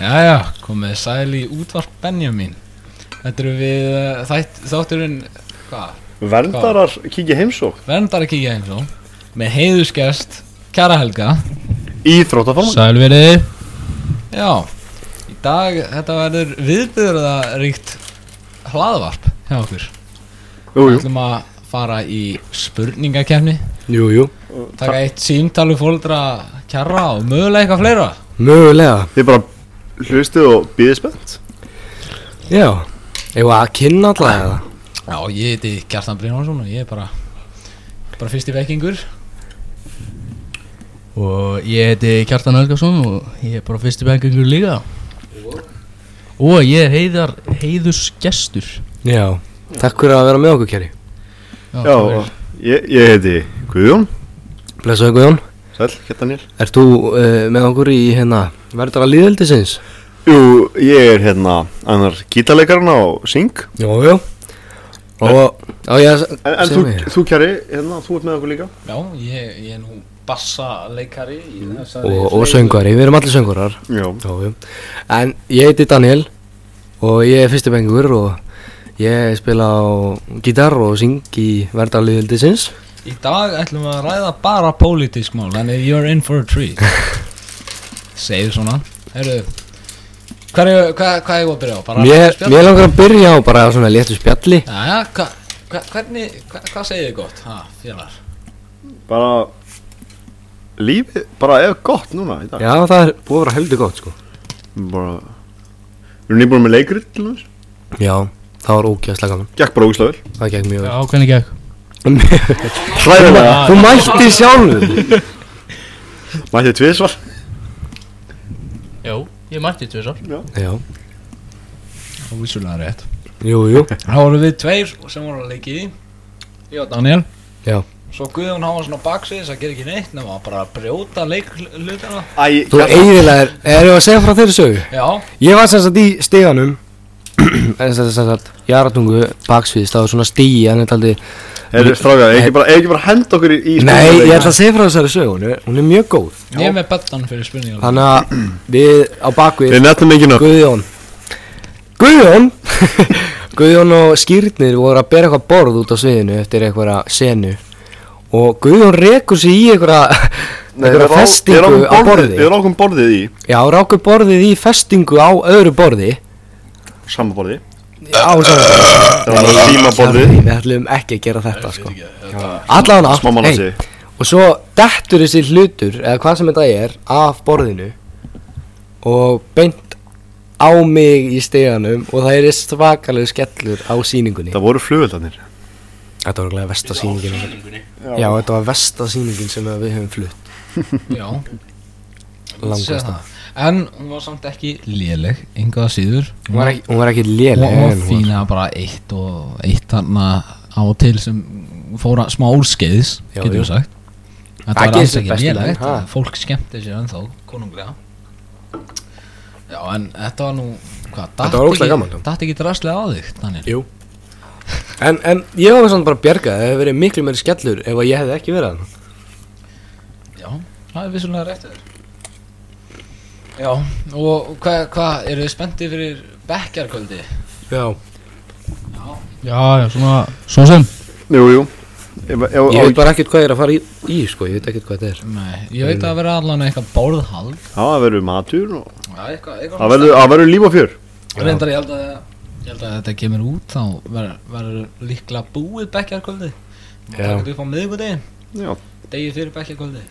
Jæja, komið sæl í útvarp Benjamin Þetta eru við eh, þætt, þátturinn, hvað? Verndarar kíkja í heimsók Verndar að kíkja eins og Með heiðuskest, Kjara Helga í þróttaformann Sælveriði Já, í dag þetta verður viðbyrðaríkt hlaðvarp hjá okkur Jú, Við jú, ætlum að fara í spurningakefni Jú, jú Taka eitt símtalu fóldra Kjara og mögulega eitthvað fleira Mögulega þið bara hlustið og býðið spennt Já Eða að kynna alltaf eða Já, ég heiti Kjartan Brynjónsson og ég er bara, bara fyrst í vekkingur Og ég heiti Kjartan Helgason og ég er bara fyrsti bengengur líka Og ég er heiðar, heiðusgestur Já Takk fyrir að vera með okkur kæri Já, og ég, ég heiti Guðjón Blessaðu Guðjón Sæl, hérna Níl Ert þú uh, með okkur í hérna Verðara líðveldisins? Jú, ég er hérna annar gítarleikarinn á Sing Jú, jú Og Á ég að En, en þú, segja mig þú kjari, hérna, þú ert með okkur líka Já, ég, ég er nú bassaleikari í þessari Mm. Og, og söngvari Við erum allir söngurar Já, Jú, jú En ég heiti Daniel Og ég er fyrsti bengur og Ég spila á gítar og syng í Verðara líðveldisins Í dag ætlum við að ræða bara pólitísk mál Þannig you're in for a treat Segðu svona Heyrðu Hvað er hva, hva ég að byrja á? Bara Mér, spjall? mér langar að byrja á bara svona léttu spjalli Jæja, hva, hva, hvernig, hva, hvað segir þið gott? Ha, félagar bara Lífið bara er gott núna í dag Já, það er búið að vera heldur gott sko Bara Við erum nýbúin með leikrit til þess Já, það var ógæðslega gaman Gekk bara ógislega vel Það gekk mjög Já, hvernig gekk? vel Hræðilega Þú mætti sjálfur Mættið tviðsvar Jó, ég mætti tvisar Já, Og vissulega rétt jú, jú Þá vorum við tveir sem voru að leiki í Ég og Daniel Já. Svo Guðjón hafa svona baksins að gera ekki neitt Nefnum að bara brjóta leiklutina Æ, hérna, Þú eiginlega er, erum við að segja frá þeirri sögu Já, Ég var sem sagt í steganum En sem sagt, Jaratungu baksviðst Það var svona stigi, en þetta aldrei Herri, stráka, er ekki bara, er ekki bara að henda okkur í, í Nei, spurningar- ég ætla að segja frá þessari sögu Hún er, hún er mjög góð ég er með bettan fyrir spurningar Þannig að við á bakvið Við nefnum ekki nöfn Guðjón Guðjón Guðjón og skýrnir voru að bera eitthvað borð út á sviðinu eftir einhverja senu og Guðjón rekur sér í einhverja einhverja festingu á borði Við rákum borðið í Já, rákur borðið í festingu á öðru borði Sama borði á saman Það var tíma borðið Við ætlum ekki að gera þetta sko Smá Allavega, manna hey, sig og svo dettur þessi hlutur eða hvað sem þetta er af borðinu og beint á mig í steganum og það er svakalega skellur á síningunni Það voru flugöldarnir Þetta var glæðið versta síningin Já, þetta var versta síningin sem við höfum flutt Já, sé langast það En hún var samt ekki léleg, enga síður Hún var ekki, hún var ekki Hún léleg var en hún fína bara eitt og eitt þarna á og til sem fóra smá úrskeiðis, Já, getur jú. við sagt Þetta Það var alls gerist ekki best í menn, lélegt, ha? fólk skemmti sér ennþá, konunglega Já, en þetta var nú, hvað, datt var ekki, ógeðslega gaman, já. datt ekki drastlega á þig, Daniel Jú En, en ég var svona bara að bjarga það hefði verið miklu meiri skellur ef að ég hefði ekki verið hann Já, það er vissulega rétt þér Já, og hvað, hva, eru þið spenntið fyrir bekkjarkvöldi? Já Já, já, svona Svo sem Jú, jú Ég, ég, ég, Ég veit bara ekkert hvað ég er að fara í, í sko, ég veit ekkert hvað þetta er Nei, ég veit að það verður allan eitthvað bórðhald Já, það verður matur og Já, eitthvað, eitthvað Það verður- það verður líf og fjör svona. Reyndar ég held að ég held að þetta kemur út þá verður- verður líklega búið bekkjarkvöldi Má Já. taka þetta upp á miðvikudegi, Já, degi fyrir bekkjarkvöldi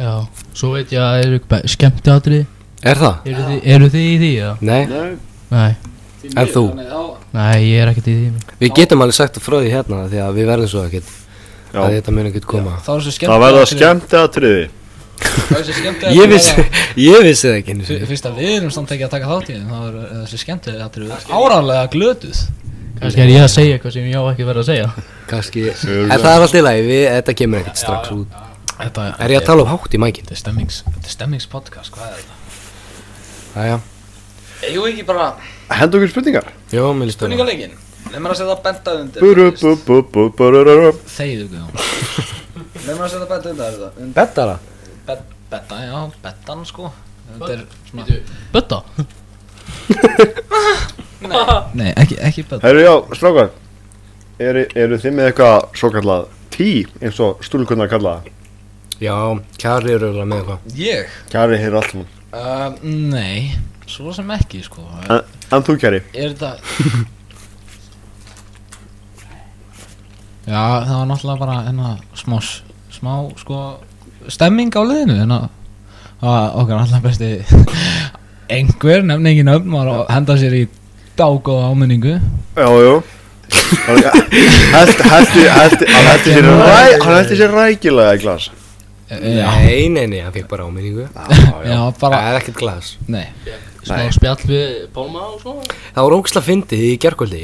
Já, svo veit ég að eru be- skemmtiatriði Er það? eru, þið- eru þið í því eða? Nei, nei Nei, Því En miður, þú? þannig þá- nei, ég er ekkert í því við getum alveg sagt að frá því hérna því að við verðum svo ekkert Já. að þetta mun ekkert koma Þá er þessi skemmt Það verður skemmt eða triði Það er þessi skemmt Ég vissi, ég vissi það ekki einu sinni. Fyrst að við erum samt ekki að taka þátt í þeim þá er eh, þessi skemmt áralega glötuð Kannski er ég að segja eitthvað sem ég á ekki verið að segja Kannski, en Sjöfum. það er alltaf í lagi, við, þetta kemur ekkert strax út Þetta Er ég að tala um hátt í mækinn? Þetta er stemmings, þetta er stemmingspodcast, hvað er þetta? Jæja, Eigum við ekki bara Henda okkur spurningar já, mér líst það spurningalegin? Nefnum að setja bentað undir Buru, bu, bu, bu, burururu. Þegiðu Guðjón Nefnum að setja bentað undir þetta Bettara? Betta, já, bettan sko Þetta er svona Bötta Nei, ekki, ekki bæð Herru, já, strákar eru, eru þið með eitthvað svo kallað tí eins og stúlkunnar kalla það? Já, kæri eru örugglega með eitthvað Ég? Kæri hér allt saman Uh, nei, svo sem ekki sko En þú kæri Er þetta Já, það var náttúrulega bara hérna smá, s- smá sko stemming á liðinu hérna að okkar allar besti einhver, nefni ekki nöfn var að henda sér í dágóða áminningu Já, já Hætti, hætti, hætti Hann hætti sér, ræ, hann hætti sér rækilega í glas Já, Nei, nei, nei, hann fikk bara áminningu Eh, já bara, Það er ekkert glas nei Eh, Smá spjall við Pálma og svona Það var ógislega fyndið í gerkvöldi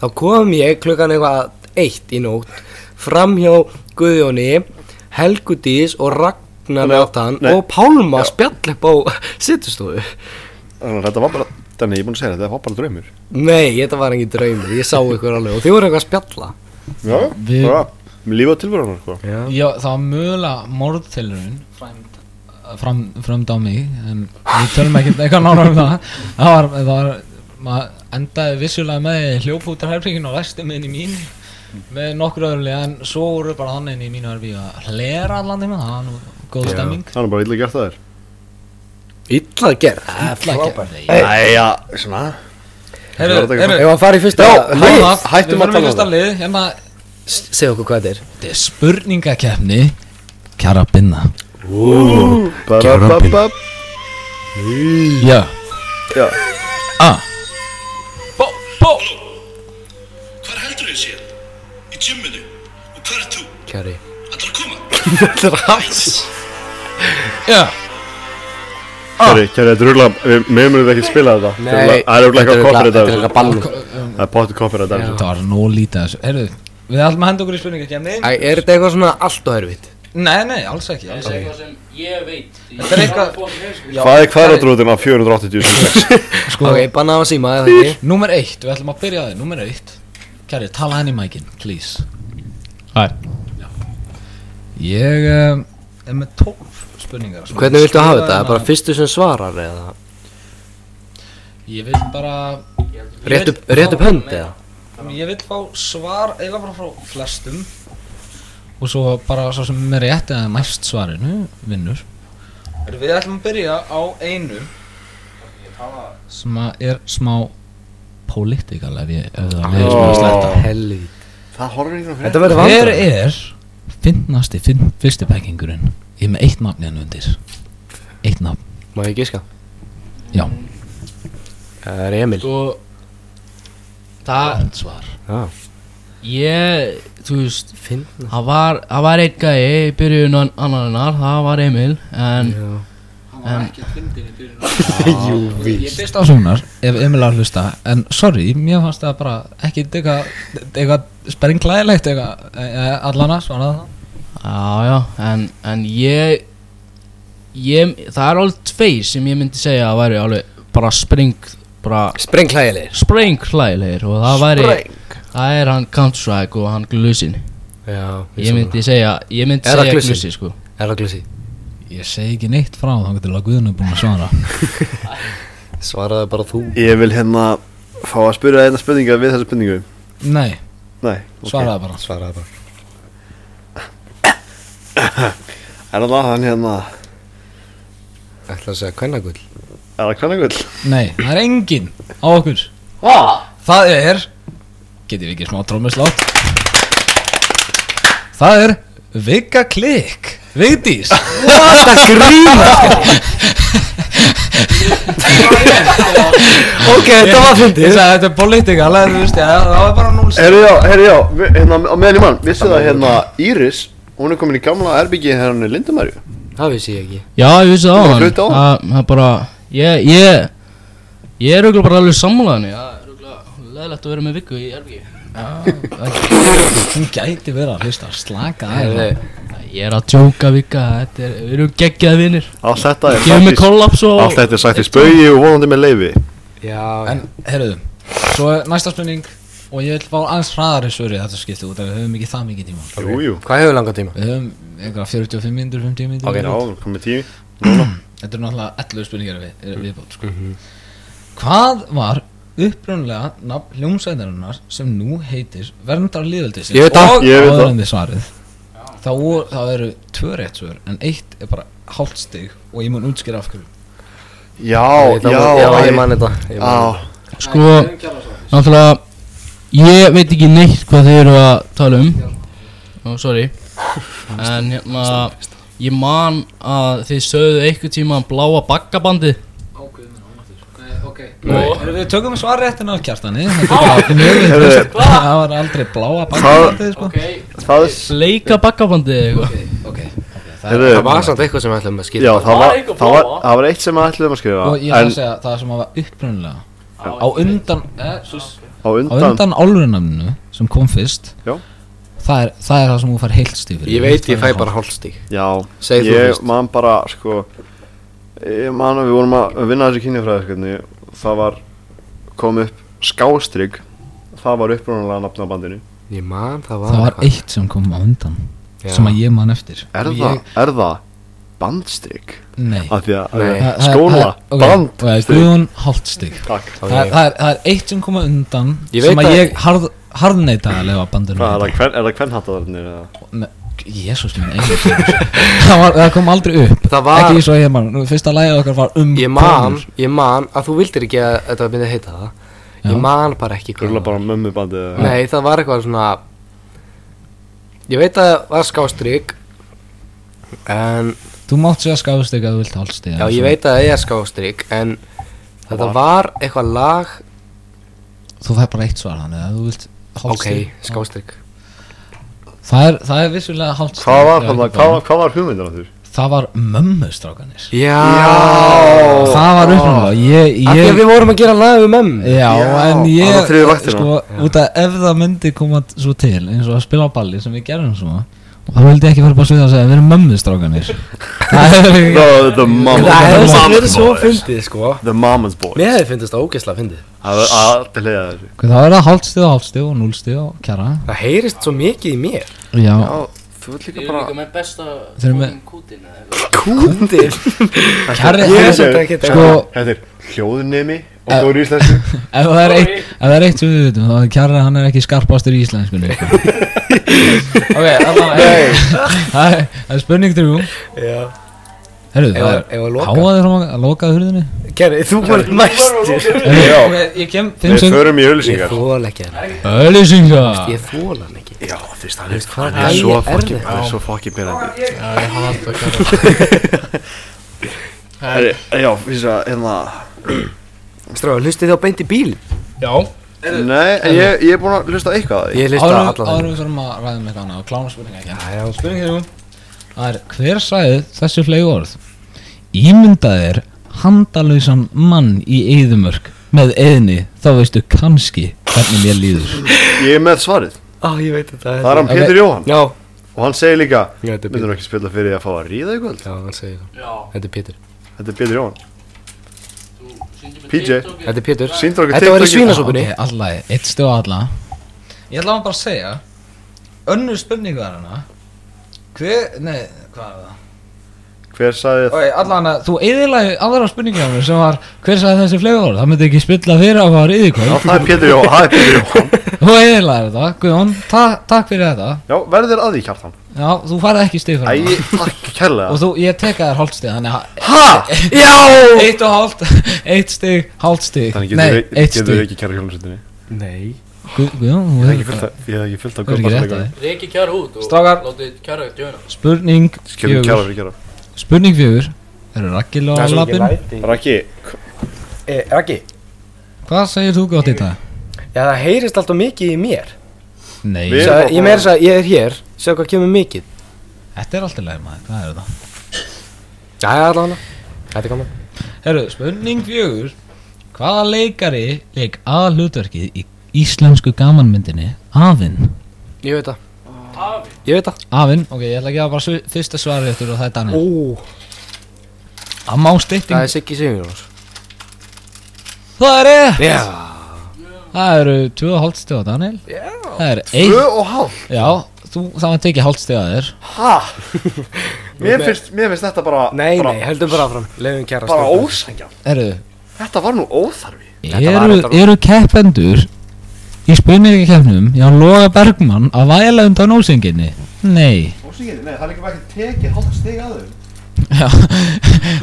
Þá kom ég klukkan eitthvað eitt í nótt Fram hjá Guðjóni, Helgudís og Ragnar Nei, Náttan nei. Og Pálma spjall upp á sittustofu Þannig að þetta var bara Þannig ég er búin að segja þetta var bara draumur Nei, þetta var engin draumur, ég sá ykkur alveg Og þið voru eitthvað að spjalla Já, já, Við- bara Lífa tilverðan sko. Já, Já, það var mögulega morðtilurinn fræmd, fram, frömd á mig en við tölum ekkert eitthvað nára um það það var, það var maður endaði vissulega með því að ég hljóp út af herfringin og vesti með inn í mín með nokkur öðrulega en svo voru bara hann inn í mínu erfi að hlera allan tíma það var nú góð Já. stemming Þannig bara illa gert það þér illa gerð Flækja Æja, svona Herru, Þetta var herru, Ef að fara í fyrsta Já, hættum lið, að hættum tala um að það Við förum í tala um fyrsta það. lið, hérna Segð okkur hvað þetta er Þetta er spurningakefni Kjara binna Ba-ba-ba-ba. Já Ah. Já, A Bó, bó Hvar heldur þau séð? Í gymminu. Og hvar er þú? Kjari Ætlar að koma? Þetta er hans Já Kæri, kæri, þetta er rúglega Við mögum við ekki spila þetta Þetta er Nei, örugglega- Það er rúglega eitthvað koffir Þetta er þetta eitthvað bannum Það er potið koffir þetta Já. Þetta var nú lítið þessu Herru, við ætlum að henda okkur í spurningakefni Æ, er þetta eitthvað svona allt og erfitt? Nei, nei, alls ekki, alls ekki. sem ég veit Þetta er eitthvað Já, Hvað er kvaradrótin af 480 Sko, Ok, banna á síma, eða ekki? númer eitt, við ætlum að byrja á því Númer eitt Kæri, tala henni í mækin, please Hæ Ég um, er með tólf spurningar hérna. svona. Hvernig viltu hafa þetta? Skrifaði Bara hana- fyrstu sem svarar eða? Ég vil bara Ég Rétt upp, vil rétt fá- upp hönd eða? Ég vil fá svar eiginlega bara frá flestum Og svo bara svo sem er rétt eða mæst svarinu vinnur Herru, Við ætlum að byrja á einu sem að er smá pólitikal ef ég ef það er svona sletta Helvi Það horfir ekki Þetta Hver verður vandrar er finnasti finn, fyrsti pekkingurinn? Ég er með eitt nafn hérna undir Eitt nafn, Má ég gíska? já, Það er Emil Sko Það gott svar Já Ég Þú veist Finna Það var Það var einn gæi Í byrjun annarinnar Það var Emil En Jú, Ég byrst á svonar ef Emil að hlusta En sorry, mér fannst það bara ekki eitthvað eitthvað sperringklæðilegt eitthvað e, e, allana svaraði það Já, já, en, en ég, ég, það er alveg tvei sem ég myndi segja að væri alveg bara spring, bara Sprengklæðilegir sprengklæðilegir og það væri, það er hann Counter-Strike og hann Glusin. Já Ég myndi segja, ég myndi Er það segja Glusin? Glusi, sko. Er það glusi? Ég segi ekki neitt frá þá getur að Guðun er búin að svara Svaraði bara þú Ég vil hérna fá að spyrja einna spurninga við þessa spurningu Nei, Nei, ok. svaraði bara Svaraði bara Er það hann hérna Ætla að segja kvennagull Er það kvennagull? Nei, það er engin á okkur Það er Getið við ekki smá trómuslátt Það er Vika Klikk Vigdís Það grína Ok, þetta var Ég fyndið sagði þetta er politika alveg, þú veist, já, Það var bara núl Herri já, herri já, vi- hérna á meðan í mann Vissu það hérna Íris Hún er komin í gamla erbyggi hérna Lindamarju Það vissi ég ekki Já, ég vissi það á Það var hann. hluti á Það það er bara, ég, ég, ég er auðvitað bara alveg sammálaðinni. Það er auðvitað leðilegt að vera með vikku í Erbyggi. Hún gæti verið að hlusta slaka Herri, aðeins Ég er að tjóka vikka, þetta er, við erum geggjað vinnir. Allt þetta er Gefum við sagt í- kollaps og... Allt þetta er sagt í spaugi og vonandi með leifi Já En, heyrðu, svo er næsta spurning Og ég vil fá aðeins hraðari svöri Þetta skipti út, af við höfum ekki það mikið tíma Jú, jú Hvað hefur langa tíma? Við höfum einhverja 45 minnur, 50 minnur Já, komið tími Þetta eru náttúrulega 11 spurningar við, er- viðbót sko. Hvað var upprunlega nafn hljómsveitarinnar sem nú heitir Verndar Líðveldis Ég veit það. og Ég veit það. áðurendi svarið þá, vor- þá eru tvö rétt svör en eitt er bara hálft stig og ég mun útskýra af hverju Já, Ég- já, Ah, það var- já, ég man þetta ég man þetta. Já, Sko, náttúrulega Ég veit ekki neitt hvað þið eru að tala um Ó, sorry En hérna Ég man að þið sögðu einhver tíma Bláa baggabandi Erum við tökum svarréttin af kjartani Þetta er bara mjög interessant. Það var aldrei bláa bandið sko. það er Bleika baggabandi eða eitthvað Heyrðu, Það var samt eitthvað sem við ætlum að skilja um. Já, það var, það var, það var eitt sem við ætluðum að skrifa Og ég ætla En að segja að það sem var upprunlega Á undan eh, sus- á Á undan, undan álurinnamnu sem kom fyrst Já. Það er, það er það sem þú fær heilt stífur Ég veit ég fæ bara hálfstík Já, Segð þú ég fyrst. man bara sko Ég man að við vorum að vinna þessi kynjafræðiskerni Það var, kom upp skástrygg Það var upprunalega nafn á bandinu Ég man það var Það var eitthvað. eitt sem kom á undan Já. Sem að ég man eftir Er Ég- það, er það bandstrygg? Nei Ah, Af því að, Nei. Það- það- skóla, það- ok, það er bandstrygg Guðun hálft stíg Takk, Ok. Það, er- það, er, það er eitt sem kom á undan Ég veit Sem að að- ég harð, harðneita að lefa bandinu hvað er það, hvern, er það kvennhattaðarnir eða? Jésús minn einu það, var, það kom aldrei upp Það var- Ekki svo ég man Nú, Fyrsta lagið okkar var um Ég man, konur. ég man að þú vildir ekki að þetta myndi heita það Ég Já. man bara ekki hvað Grilla bara mömmu bandið eða? Nei, það var eitthvað svona Ég veit að það var skástrík En Þú mátt segja skafust ekki að þú vilt hálft stíg Já, ég veit að það er skástrík En þetta var eitthvað lag Þú fær bara eitt svar hann eða þú vilt hálft Ok, sko. stíg skástrík það, er- það er vissulega hálft Hvað var, hvað, hvað, var- hvað var hugmyndin á því? Það var mömmustrákanir Já Það var uppnáðlega Ég, Af því ég að við vorum að gera lag um mömmu Já, Já, en á ég, það þriðju vaktina. sko, út að ef það myndi koma svo til, eins og að spila á balli sem við gerum svona, þá vildi ég ekki fara bara svið að segja, við erum mömmustrákanir. það hefur ekki The, the mom, Það hefði the samt mom verið svo fyndið sko The Mamas Boys Mér hefði fyndist það ógeðslega fyndið Það er alltaf leiða þessu Hvað, Það verða hálfstíð og hálfstíð og núlstíð og kjara Það heyrist svo mikið í mér Já, þú vilt Ég er líka með besta Þeir eru með- fucking kútinn eða eitthvað. Kúndir kjari Ég er ef, samt ekki Sko, Þetta er hljóðnemi og góður í íslensku ef það er eitt ef það er eitt sem við veitum, þá er kjari hann er ekki skarpastur í íslenskunni sko. Ok, allavega Það er- það er spurning trú Herru, Eigum það við- eigum við að er loka? háaði frá að loka hurðinni Gerri, þú voru næstur Já. Ok, ég kem fimm Við sem förum í Ég auðlýsingar þóla ekki hann Ölýsinga Ég þóla hann ekki Já, fyrst hann er Það Hvað er gæi svo er fokkin þetta? Það er svo fokkin byrjandi Ég hata kjara Já, fyrst að, hérna Stráður, hlustið þið á beint í bíl? Já Nei, en ég, ég er búinn að hlusta á eitthvað að því Ég hlusta á Árum alla þeim við förum að ræða með hana og klána spurninga ekki Já, já. Spurning trú Það er hver sagði þessi flegu orð Ímyndaðir handalausan mann í eyðumörk með eyðni þá veistu kannski hvernig mér líður Ég er með svarið Á, ég veit þetta Það er hann Ok. Pétur Jóhann Já, Og hann segir líka Já, þetta er Myndur ekki spila fyrir því að fá að ríða í kvöld já, hann segir það Þetta er Pétur Þetta er Pétur Jóhann PJ Þetta er Pétur Sýndur okkur Þetta var í TikTokið. svínasopunni Ok, allagi, eitt stjóð alla Ég ætla að bara að segja Önnur spurningu er hana Hver, nei, hvað er það? Hver sagði Ok, allan að þú eðilagi aðra spurningu á mér sem var Hver sagði þessi flegur? Það myndi ekki spilla fyrir að fara yfir Já, hvað það er Pétur Jóhann Það er Pétur Jóhann Þú eðilagi þetta, Guðjón, ta takk fyrir þetta Já, verður að því kjartan Já, þú farið ekki stig fyrir Æ, hana takk kærlega Og þú, ég teka þér hálft stig, þannig að Hæ? Já Eitt og hálft, eitt stig, hálft stig Þannig Nei, getur eitt við stig ekki kæra hjónasöndinni Nei Gu- Guðjón, þú Ég hef ekki hefur fullt að- ég hef ekki fullt að þú hefur gumma ekki sem rétt leikur að Reki kjara út og Strákar. Látið kjara djöna Spurning Skjöfum kjara fjögur fyrir kjara Spurning fjögur Eru raggil á lappin? Raki Raki, Hvað segir þú gott í dag? já það heyrist alltaf mikið í mér Nei, Við- Sjá, Ég meira þess að ég er hér Sjá hvað kemur mikið þetta er alltaf leið maður, hvað er þetta? Já, já, allavega Þetta er gaman Herru, spurning fjögur Hvaða leikari leik að hlutverkið í íslensku gamanmyndinni Afinn? Ég veit það Ég veit það Afinn, ok, ég ætla að gefa bara svi- fyrsta svarið eftir og það er Daniel Ó Að má stytting Það er Siggi Sigurjóns Það er ég Já Það eru 2,5 steg á Daniel Já Það er 1 Tvö og hálf Já, þú, það var tekið hálft steg að þér Ha? Mér finnst, mér finnst þetta bara Nei, bara, nei, höldum bara fram Leifum kæra bara ósængja Erðu, Þetta var nú óþarfi Þetta var eru, þetta- eru keppendur í spurningakefnum hjá Loga Bergmann að væla undan ósenginni? Nei. Ósængja, nei, það er líka bara ekki tekið hálft stig að þau Já,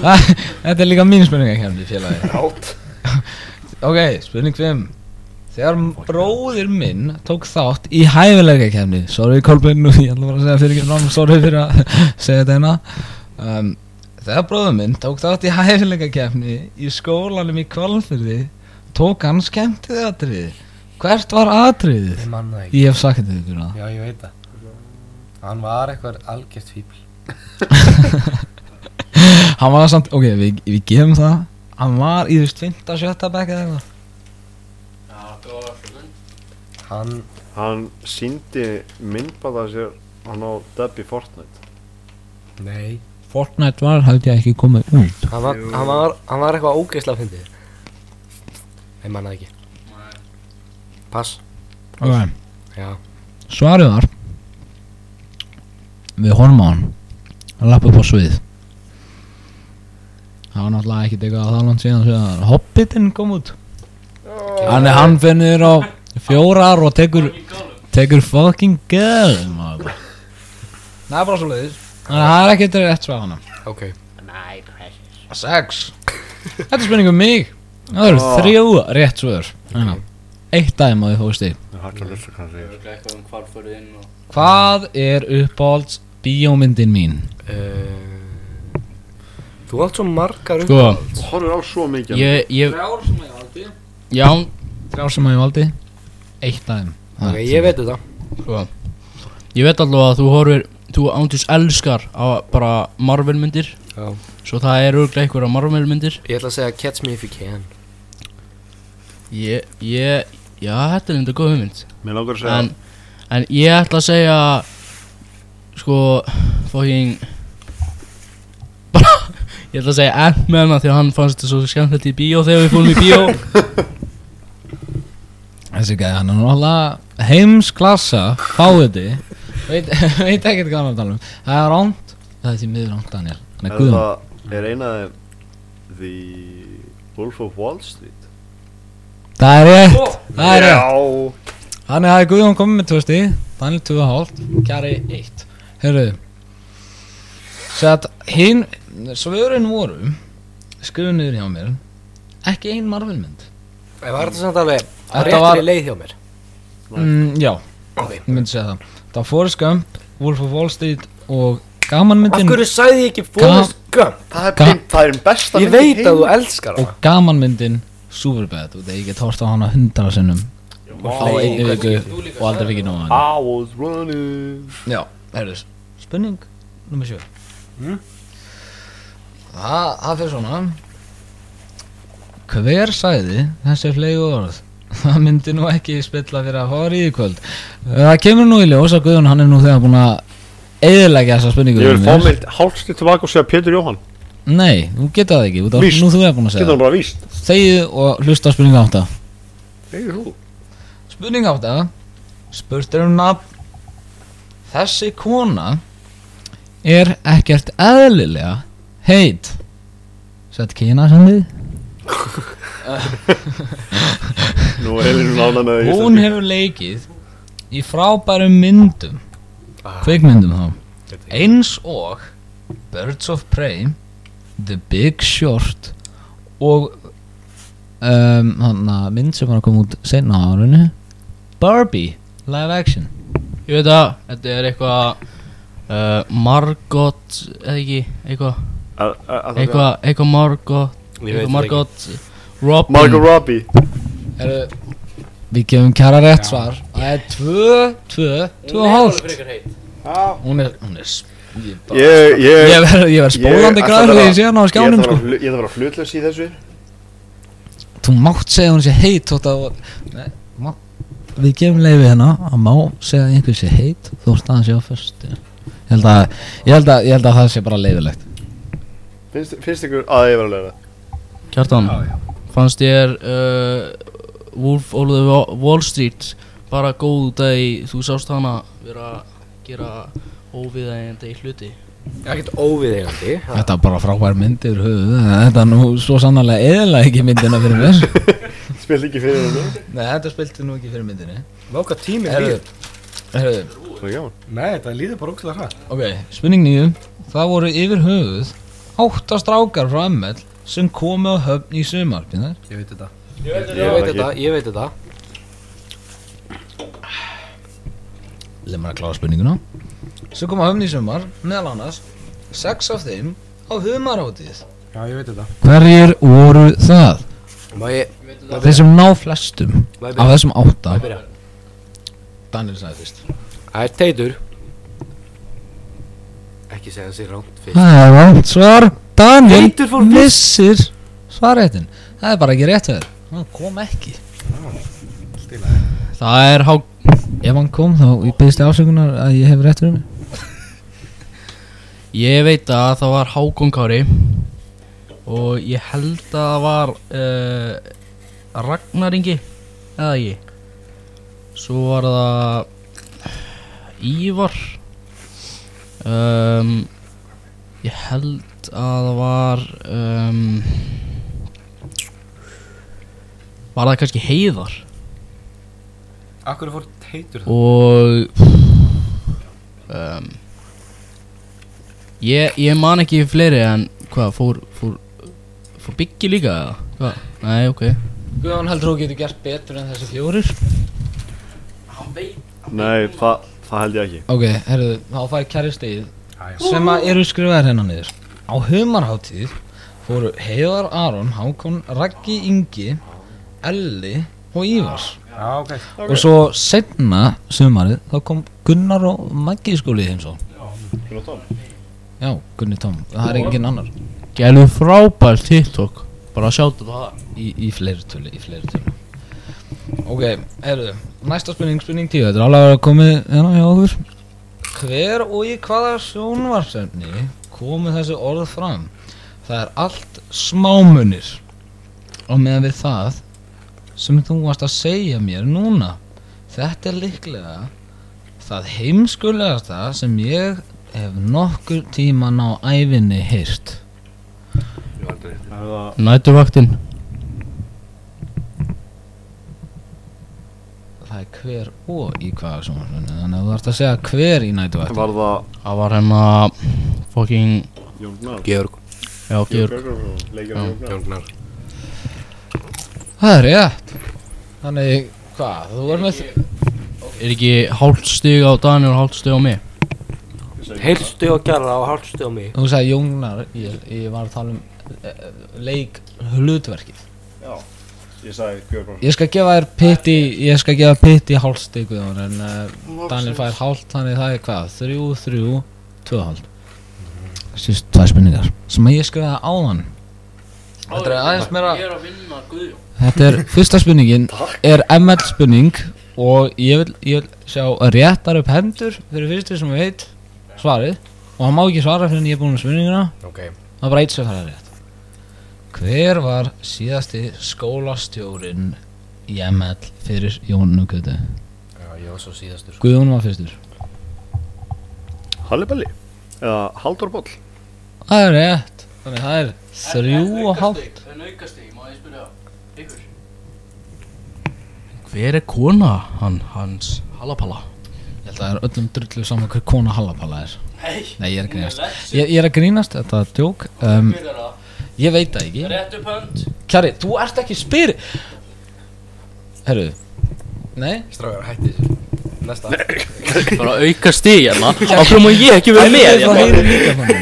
Ah, þetta er líka mín spurningakefni félagi. Rátt Ok, spurning 5. Þegar bróðir minn tók þátt í hæfileikakefni, sorry Kolbinn og ég ætla bara að segja fyrir ekki fram, sorry fyrir að segja þetta hérna. Um, þegar bróðir minn tók þátt í hæfileikakefni í skólanum í Kvalfyrði, tók hann skemmtið atriðið. Hvert var atriðið? Ég manna það ekki. Ég hef sagt þetta ykkur að Já, ég veit það. Hann var eitthvað algjört fíbl. Hann var samt, ok, við, við gefum það Hann var í þvist 5. og 7. bekk eða eitthvað Hann, Hann síndi myndbanda sér hann á Debbie Fortnite nei. Fortnite var, held ég ekki komið út Hann var, hann var, hann var eitthvað ógeðslega fyndið Ég manna það ekki Pass Ok, Já svarið var Við horfum á hann Hann lappa upp á svið Það var náttúrulega ekki eitthvað það langt síðan síðan að Hobbitinn kom út Hann er hann finnir á fjórar og tekur Tekur fucking girl maður. Það er bara svo leiðis Það er ekki eitthvað rétt svar hana Ok Sex Þetta er spurning um mig Það eru Ah. þrjú rétt svör Þannig að Eitt dæmi á því fóðusti Það er ekki að hlusta hvað hann segir Örugglega eitthvað um hvar fyrir inn og Hvað er uppáhalds bíómyndin mín? uh, Þú átt svo margar upp Sko, Horfir á svo mikið ég, ég, Þrjár sem að ég valdi já, Þrjár sem að ég valdi Eitt dæmi Ok, ég veit þetta sko Ég veit allavega að þú horfir, þú ándjus elskar á bara Marvel myndir Já. Svo það er örglega einhverja Marvel myndir Ég ætla að segja catch me if you can Ég, ég, já, þetta er enda góð hugmynd Mér langar að segja en, en ég ætla að segja Sko, fucking Bara, ég ætla að segja Ant-Man af Því að hann fannst þetta svo skemmtilegt í bíó Þegar við fórum í bíó Þessi gæði hann er náttúrulega heimsklassa Fáiði Veit, veit ekkert hvað hann er að tala um Það er rámt Það er því miður rámt Daniel Nei, Er guðum það er eina þeim The Wolf of Wall Street Það er rétt Það er rétt Já Þannig að Guðjón komið með 2 stíð Daniel 2,5 Kjari 1 Herru Svo að hinn Svörin voru Skrifu niður hjá mér Ekki ein Marvelmynd Ég var þetta samt alveg Þetta Réttir var- var... leið hjá mér mm, Já Ok. Ég myndi segja það Það var Forrest Gump Wolf of Wall Street Og gamanmyndin Af hverju sagði ég ekki Forrest Gump? Það er, Ga- mynd, það er einn besta Ég mynd í veit að þú heimi. elskar Og hana gamanmyndin Superbad Og þegar ég get hort á hana hundra sinnum Á eh, einu viku Og aldrei fikk ég nóg af henni. I was running Já, herru Spurning Númer 7 Hm? Það, það fyrir svona Hver sagði þessi flegu orð? Það myndi nú ekki spilla fyrir að fara í því kvöld Það kemur nú í ljós að Guðun hann er nú þegar búin að eðilegja þessa spurningu Ég vil fyrir fá mig hálfstu tilbaka og segja Pétur Jóhann Nei, þú geta það ekki, út af Víst. nú þú er búin að Getur segja hann bara víst það Þegið og hlusta á spurningu átta Þegar þú Spurning átta Spurt er um nafn Þessi kona er ekkert eðlilega heit Sett kína sem þið Nú er hún lána með það í Hún íslensku. hefur leikið í frábærum myndum eh, kveikmyndum þá eins og Birds of Prey The Big Short og um, hann að mynd sem var að koma út senna á árinu Barbie live action Ég veit að þetta er eitthvað uh, Margot eða ekki eitthvað Að- að- að- eitthvað eitthvað Margot eitthvað Margot Robin Margot Robbie Eru, Við gefum kjara rétt svar Það er tvö, tvö, tvö og Hún er alveg hálft frekar heit Hún er, hún er s- Ég, bara- Ég, ég ég verð ég verð ég- spólandi ætla að græður vera- þegar ég sé hann á skjánum Ég sko þarf að vera- ég þarf að vera hlutlaus í þessu þú mátt segja að hún sé heit þótt að Nei, má- við gefum leiði hérna að má segja að einhver sé heit þó staðan sé á fyrstu ég held að, ég held að, ég held að það sé bara leiðilegt Finnst, finnst ykkur að ég vera að leira Kjartan fannst ég uh, Wolf of the Wa- Wall Street bara góð út að þú sást hana vera að gera óviðægandi hluti Ekkert óviðeigandi Þetta var bara frábær mynd yfir höfuð Þetta er nú svo sannarlega eðalega ekki myndina fyrir mér Spilt ekki fyrir það Nei, þetta spilti nú ekki fyrir myndinni Váka tími Herðu, herðu, Það er gaman Nei, þetta líður bara ógstilega hratt ok, spurning nýju Það voru yfir höfuð Átta strákar frá ML sem komu á höfn í sumar Býnar? Ég veit þetta Ég veit þetta, ég veit þetta Leð maður að klára spurninguna Svo kom á höfn í sumar, meðal annars Sex af þeim á humarháttið Já, ég veit þetta Hverjir voru það? Má ég, Þeir sem ná flestum má Af ég byrja? þessum átta Má ég byrja? Daniel sagði fyrst Það er Teitur Ekki segja þessi rámt fyrst Það er rámt svar Daniel Teitur fór fyrst missir svarréttin Það er bara ekki rétt að þér Hann kom ekki Það er há... Ef hann kom þá byrðist ég afsökunar að ég hef rétt fyrir mig Ég veit að það var Hákon Kári og ég held að það var uh, Ragnar Ingi eða ég svo var það Ívar um, ég held að það var um, var það kannski Heiðar Akkur fór teitur það og um, ég, ég man ekki fleiri en hvað fór, fór, fór byggi líka eða? Hvað? Nei, ok Guðan heldur þú getur gert betur en þessi fjórir Nei, það, það held ég ekki Ok, herruðu, þá fær kæri stegið Æ, sem að eru skrifaðar hérna niður Á humarháttíð fóru Heiðar Aron, Hákon, Raggi Ingi Elli og Ívars Já, ok og svo setna sumarið þá kom Gunnar og Maggi í skólið eins og Já, Gunni Tom, það er engin annar Gælu frábært TikTok Bara að sjá þetta það í, í fleirtölu, í fleirtölu Ok, heyrðu, næsta spurning, spurning tíu, þetta er alveg að vera komið hérna hjá okkur Hver og í hvaða sjónvarsefni komu þessi orð fram? Það er allt smámunir og meðan við það sem þú varst að segja mér núna Þetta er líklega það heimskulegasta sem ég hef nokkur tíman á ævinni heyrt Það er það Næturvaktin Það er hver og í hvaða sjónvarsefni Þannig að þú þarfst að segja hver í nætuvætt Var það Það var hérna fucking Jón Gnar Georg Já, Georg Björgur Leikir Já. Jón Gnar Jóngnar Það er rétt Þannig, hvað, þú er með Er ekki hálft stig á Daniel og hálft stig á mig? Heilstu og gerra og hálstu á mig Þú sagði Jónar, ég, ég var að tala um eh, leik hlutverkið Ég sagði Björgur Ég skal gefa þér pitti, ég skal gefa pitti hálfstig við hann En uh, Daniel fær hálft, þannig það er hvað, þrjú, þrjú, tvö hálft Sýst tvær spurningar sem að ég skrifaði áðan Þetta er aðeins meira er að vinna Guðjón Þetta er fyrsta spurningin er ML spurning og ég vil, ég vil sjá réttar upp hendur fyrir fyrstu sem veit svarið og hann má ekki svara fyrir en ég er búinn með spurninguna Ok það er bara eitt sem fara rétt Hver var síðasti skólastjórinn í ML fyrir Jónu Kötu? Já, ég var svo síðastur Guðjón var fyrstur Halliballi Eða Haldur Boll Það er rétt Þannig það er þrjú og hálft En aukastig, má ég spyrja ykkur Hver er kona hann, hans Halapala? Ég held að það er öllum drullu saman hver kona halapala er Nei, Nei, ég er að hún er grínast legend Ég, ég er að grínast, þetta er djók um, Hver er það? Ég veit það ekki Rétt upp hönd Kjari, þú ert ekki spyr Herru Nei Strákar, hætti þessu Næsta Bara auka stig hérna Okkur má ég ekki vera með Það hérna heyri líka þannig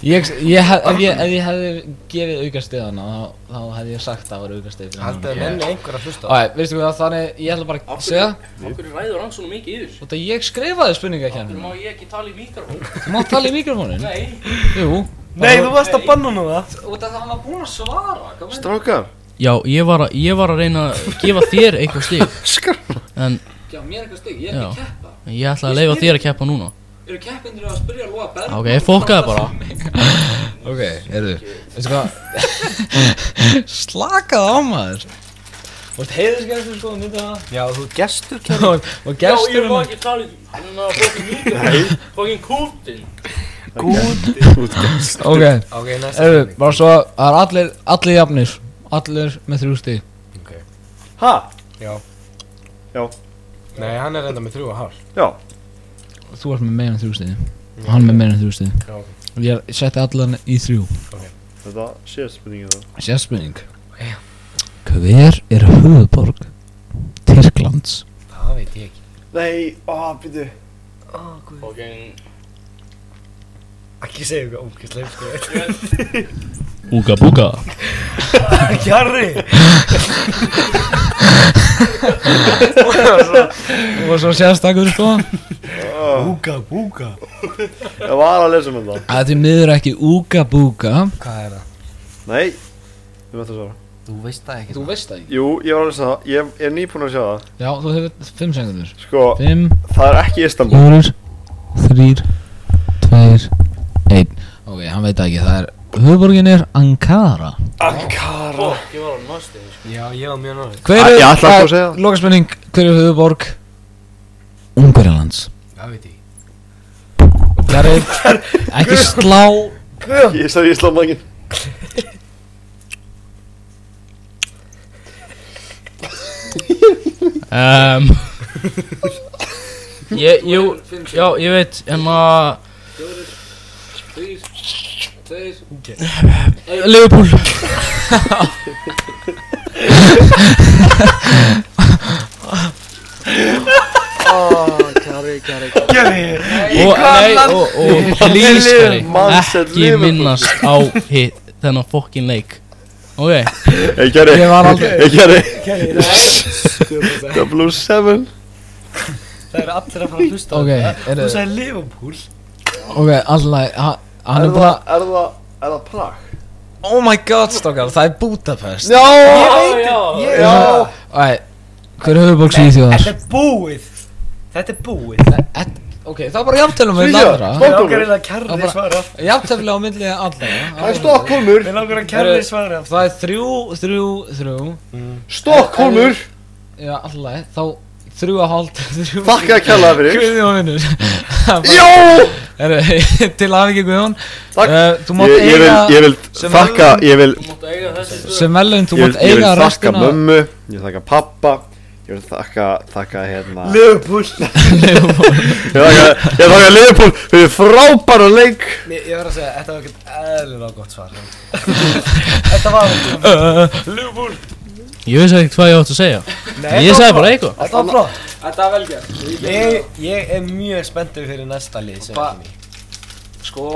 Ég, ég, hef- ef, ég, ef ég hefði gefið aukastegana þá, þá hefði ég sagt að það var aukasteg Haldið að menni einhver að hlusta Æ, veistu hvað, þannig ég ætla bara að segja Okkur ræður hann svona mikið yfir Þú veit að ég skrifaði Okkur spurningakjarnir má ég ekki tala í mikrofón Þú mátt tala í mikrofónin Nei Jú Nei, þú varst að banna nú það Þú veit að það var búin að svara hvað meinar- Strákar Já, ég var, að, ég var að reyna að gefa þér eitthvað stig Skar En Já, mér eitthvað steg, ég Já. að keppa ég ætla að leifa þér að keppa núna Eru keppindur að spyrja að lofa berg? Ok, fokkaði bara Ok, heyrðu, veistu hvað Slakað á maður Þú veist heiðisgestur sko, myndi það Já, þú ert gestur Og, Já, og ég er gesturinn bara ekki talið Hann er að fokkin mýkur Fokkin kútin Ok, Ok, næsta erum spurning. bara svo að það er allir, allir jafnir Allir með þrjú stíð Ha? Já. Já. Nei, hann er enda með þrjú og hálf Já. Þú ert með meira en þrjú stíð Og hann með meira en þrjú stíð Já, ok. Og ég setti allan í þrjú Þetta sé spurningin það. Sérspurning Hver er höfuborg Tyrklands? Það veit ég ekki Nei, á, býtu. Fokkin Ekki segja eitthvað ógæslega sko Úga búga Kjarri Og svo sérstakur sko Búka, búka Ég var að lesa um þetta. Að því miður ekki úga búga Hvað er það? Nei. Þú veit að svara. Þú veist það ekki sko. veist það ekki Jú, ég var að lesa það. Ég er nýbúinn að sjá það. Já, þú hefur fimm sekundur Sko, Fimm, það er ekki Istanbul. fjórir, þrýr, tveir, einn Ok, hann veit það ekki, það er Höfuborgin er Ankara Ankara. Fokk, ég var á næstu Já, ég var mjög náður Hver Ah, er, ég ætla að að- fá að segja það. lokaspurning, hver er höfuborg Ungverjalands Það veit ég Gary, ekki slá Ég sagði Ísland mangin. um, Ég, jú, já, ég veit Hérna Þrýr Tveir Leopold Og, nei, og, og please, Kari, Manchester ekki Liverpool. minnast á hitt þennan fokkin leik Ok, Ég gerði. Ég var aldrei- Ég gerði. Double oh seven. Það er allir að fara að hlusta Ok, Þú er, sagði Liverpool ok, alltaf Hann Er er það, bara er það, er það Prag? Oh my god, stokkar, það er Budapest Já! Já, já Ég Já. Æ, hver er höfuborg Svíþjóðar? Þetta er búið Þetta er búið Ok, það er bara jafntölum með Svíþjóð, allra stopp. Mér langar eiginlega að kjarri Það bara- svara Jafntölum á milli allra Það er Stokkólmur. Mér langar að kjarri Herru. svara Það er þrjú, þrjú, þrjú Stokkólmur. Já, alltaf, þá þrjú að hálft þrjú- Þakka að kella það fyrir. Guðjón vinnur Það er Já! bara- Herru, Til aðvikið Guðjón Takk. Eh, Þú mátt Ég, ég vil, eiga ég vil sem þakka, verðlaun- ég vil Þú mátt eiga þessi stöð sem velun, þú Ég mátt vil, ég vil eiga þakka restina mömmu, ég vil þakka pappa, ég vil þakka, þakka hérna Ég Liverpool vil þakka, ég vil þakka Liverpool fyrir frábæra leik Nei, ég verð að segja, þetta var ekkert eðlilega gott svar Þetta var ég veist ekki hvað ég átt að segja Nei, Ég þetta sagði var bara flott. eitthvað Þetta var flott Þetta er vel gert Ég, ég er mjög spenntur fyrir næsta lið sem Ba- er í. Sko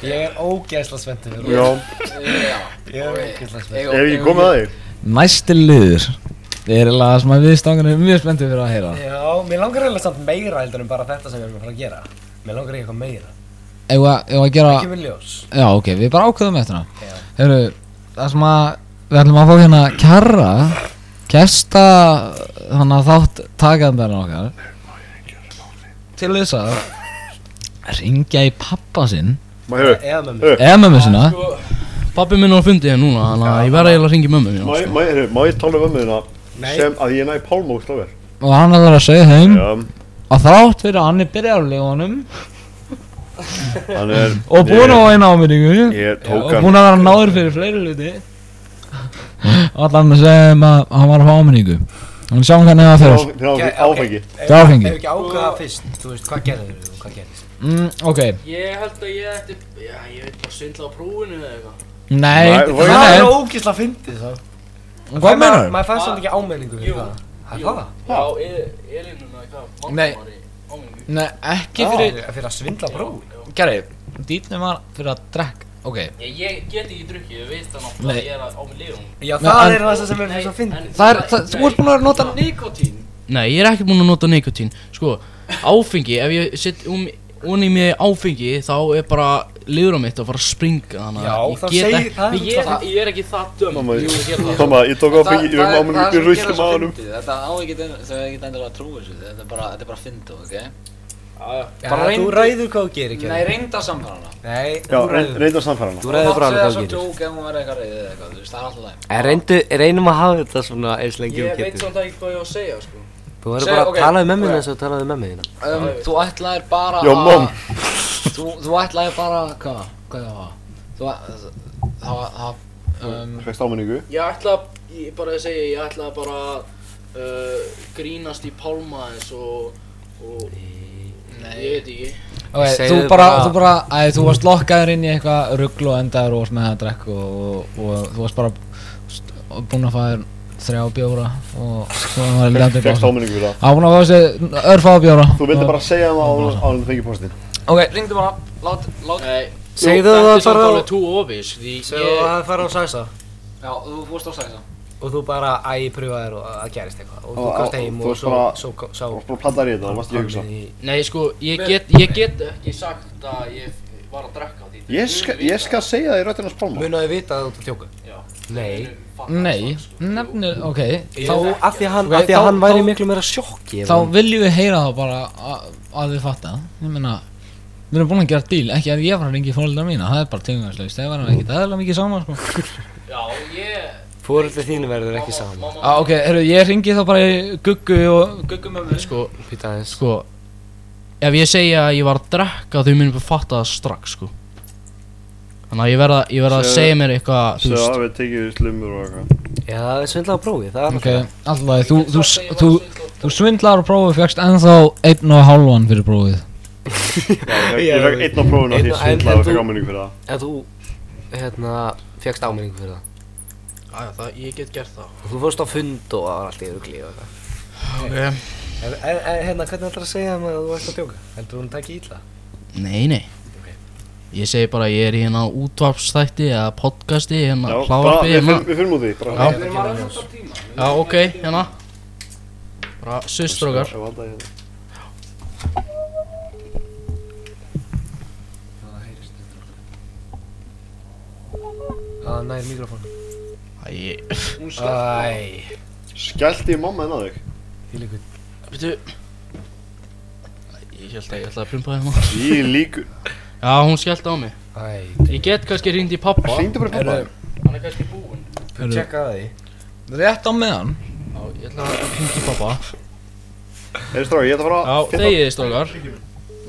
Ég er ógeðslega spenntur fyrir Já, Já Ég er ógeðslega spenntur ef ég kom með það þig Næsti liður er eiginlega það sem að við stangarnir erum mjög spenntið fyrir að heyra Já, mér langar eiginlega samt meira heldur en bara þetta sem við erum að fara að gera Mér langar ekki eitthvað meira Ef að gera Ekki með ljós Já, ok, við bara ákveðum eftir Já. það Hefur, það sem að við ætlum að fá hérna kjarra Kjesta, þannig að þátt takandarinn okkar Til þess að ringja í pappa sinn Má hefur, Eða með mér Eða mömmu sína Pappi minn á fundi hér núna, þannig að ég verði eiginlega að ringi mömmu sko. mín má ég, má ég, heyrðu, má ég tala um ömmu þína Nei. sem að ég næ pálma úr slóver Og hann ætlar að segja heim Já, Að þrátt fyrir að hann er byrjarlegunum hann er Og búin á eina ámyndingu Ég, ég tók Og hann búin að vera náður fyrir fleiri hluti Og ætlar hann að segja þeim að hann var að fá ámyndingu Þannig sjáum hvernig það fyrir fyrir á- fyrir á- áfengi Það er áfengi. Ef ekki ákveða fyrst, þú veist, hvað gerðir þú, hvað gerðist mm, Ok, Ég held að ég ætti Já, ég veit bara svindla á prófinu eða eitthvað nei, Nei, nei, Hvað Það er nei. ógeðslega fyndið þá Hvað meinar Maður fær svolítið ekki ámenningu Jú. fyrir það Það er Jú. það? Já, E- Elínun eða eitthvað Nei. Mamma var í ámingu Nei, ekki fyrir Fyrir, fyrir að svindla brói Gary, dýtnum var fyrir að drekka Ok, Ég, ég get ekki drukkið, ég veit það Nei. náttúrulega, ég er að á mig lifum. Já, Nei, það en- er það sem er fyrir svo fyndið það er, það, þú ert búin að nota nota nikotín. Nei, ég er ekki búinn að nota nikotín Sko, áfengi, ef ég set um onni mig áfengi, þá er bara liður á mitt að fara að springa þannig Já, að það ég get segir, ekki það er Ég, er- ég er ekki það döm. Mamma, Jú, ég er það. mamma, ég tók áfengi, ég var ámenni í sko. rullum á honum Þetta á ekki, þau er ekki endilega að trúa þessu, þetta er bara, þetta er bara fyndið, ok? já. Bara Já, þú reynd- ræður hvað þú gerir, Nei, kjörn. reynda samfara hana Nei, Já, þú reyn- ræður. reyndu að samfara hana Þú ræður bara alveg hvað hvað þú þú gerir. gerir Þú ræður bara alveg hvað þú gerir Það er alltaf læg En reyndu, reynum að hafa þetta svona eins lengi og Ég veit getur. svolítið ekki hvað ég á að segja sko. Þú verður Segðu, bara ok, að tala við mömmu ok. þína eins og talaði við mömmu þína. um, Þú ætlaðir bara Your að- mom. þú, þú ætlaðir bara Hvað? Hvað það var? Þú ætlaðir Það var það um, Þú fækst áminningu Ég ætla Ég bara að segja Ég ætla bara að, uh, Grínast í pálma eins og, og Nei Ég veit ekki Ok, þú Segðu bara, bara- þú bara, æ, þú varst lokkaður inn í eitthvað ruggl og endaður og varst með það að drekka og, og, og þú varst bara st- búinn að fá þér þrjá bjóra og svo var það lendið Fækst bjóra. áminningu fyrir það Það var búinn að fá þessi örfáða bjóra. Þú vildi bara segja það áður áður en þú fengið postin Ok, ringdu bara, lát, lát. Nei Segðu það að Þetta er fara á... alveg too obvious Því Svo ég... ég að fara á sæsa Já, þú fórst á sæsa. og þú bara æ, pröfa þér og að gerist eitthvað og þú Og- komst og- heim þú og varst svo, bara- svo, Þú svo, varst bara að planta þér í þetta, þú varst ekki að hugsa í... Nei, sko, ég get, ég get ekki sagt að ég var að drekka á því Ég skal, ég skal segja það í röttinans pálma Munaði vita að þú ert að tjóka? Já. Nei. Nei, nefnir, ok, Ég- þá, Ég- Af því að hann, Ok, af því að þá- hann væri þá- miklu meira sjokki. ef þá hann- viljum við heyra það bara að, að við fatta. Ég meina, við erum búin að gera díl, ekki að ég var að ringi fólkdra mína, það er bara tímvæðslaust, það var ekki aðeins mikið saman, sko. Já, ég Fóreldri þín verður ekki saman. Mamma, Ah, ok, herru, ég ringi þá bara í Guggu og Guggu mömmu Sko, Pýta aðeins. sko Ef ég segja að ég var að drekka Þau munum bara fatta það strax, sko Þannig að ég verða, ég verða að Segðu- segja mér eitthvað Þú Svo veist, við tekið við slumur og eitthvað Já, það er svindlað að prófi, það er Ok, alltaf. alltaf, þú, þú, þú, þú, þú svindlar á prófið fegst ennþá einn og hálfan fyrir prófið Já, Ég fekk- ég fekk einn á prófuna því Einn ég á- en- svindlaði en og fekk þú- áminningu fyrir það En þú, hérna, fegst áminningu fyrir það. Æja, það, ég get gert það Og Þú fórst á fund og það var allt í örgli og eitthvað. En, en, en hérna, hvernig ætlar að segja maður að þú ert að tjóka? Heldur hún takk í illa? nei, nei Ég segi bara, ég er í hérna útvarpstætti Eða podcasti, Já, hérna bara, hlávarpi við hérna. fyrum- við fyrir mútið Já. Bara Við erum að reyna út af tíma Já, ok, hérna Bara systrókar Ég valda hérna. Að nær mikrofónum. Æ, Hún skallt Æ, Skellti mamma henn á þig því líka. veitu Ég held að ég ætla að plumpa þér hérna Ég líkur Já, hún skellt á mig Æ, Ég get kannski hringt í pappa Hringdu bara í pappa þinn. Hann er kannski búinn tjekka það því. Rétt á meðan Já, ég ætla að hringt í pappa Heyrðu strákar, ég ætla að fara Já, að fitta. þegiði strókar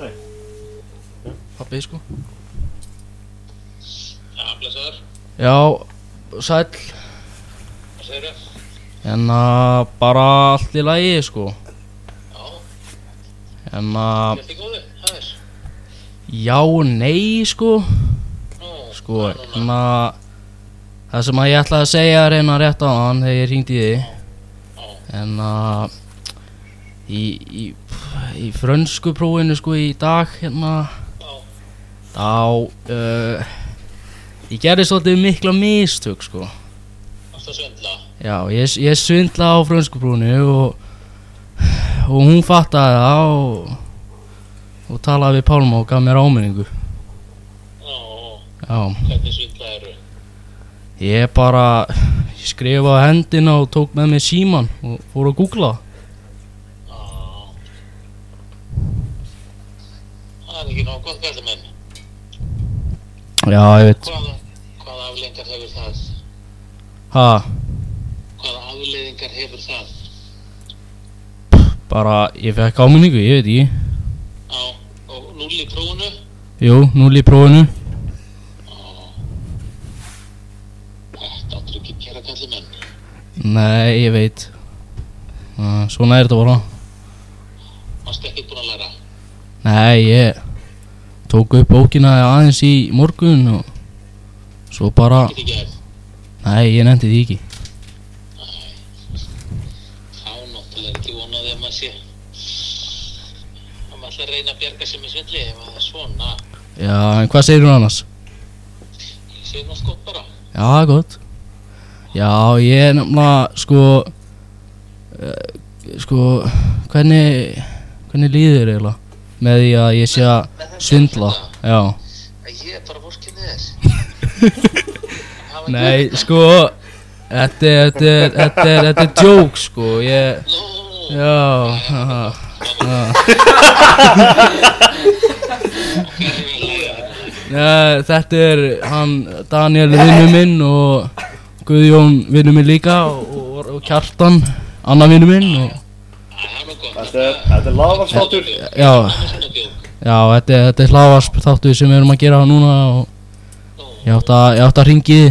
Nei. Pappi, sko Já, blessaður, Já, sæll hvað segir þér? En að Hérna, bara allt í lagi, sko Já, En að, gett þið góðu, það er já, nei, sko Nú, Sko, en að Það sem að ég ætlaði að segja er reyna rétt á hann þegar ég hringdi í því En að Í, í, í frönsku prófinu sko í dag hérna Þá uh, Ég gerði svolítið mikla mistök sko allt að svindla Já, ég, ég svindla á frönsku prófinu og Og hún fattaði það og Og talaði við Pálma og gaf mér áminningu Nú, Já hvernig svindla eru? Ég bara ég skrifaði á hendina og tók með mér síman og fór að googla Já Það er ekki nóg gott gæti menn Já, ég veit Hvaða, hvaða afleðingar hefur það? Ha, Hvaða afleðingar hefur það? bara ég fekk áminningu, ég veit ekki Já, og núll í prófunu? Jú, núl í prófinu Þetta áttur ekki að gera gæti menn Nei, ég veit uh, Svona er þetta bara Varst ekki búin að læra? Nei, ég tók upp bókina aðeins í morgun og svo bara Ekki gerð? Nei, ég nefndi því ekki Þá náttúrulega er ekki vonaði að maður sé að maður ætla að reyna að bjarga sér með svindli ef það er svona Já, en hvað segir hún annars? Ég segi nú skott bara Já, gott Já, ég er nefnilega sko uh, sko hvernig hvernig líður þér eiginlega með því að ég sé að svindla Já, að ég er bara vorkinni þess Það var nei, sko þetta er, þetta er, þetta er, þetta er joke sko, ég Nú, já, haha. Uh, þetta er hann Daniel vinnu minn og Guðjón vinnu minn líka og, og, og Kjartan annar vinnu minn og, Þetta er, þetta er laðvarstáttur já, já þetta, er- þetta er hlaðvarp þáttu sem við erum að gera núna og ég átti að, ég átti að ringi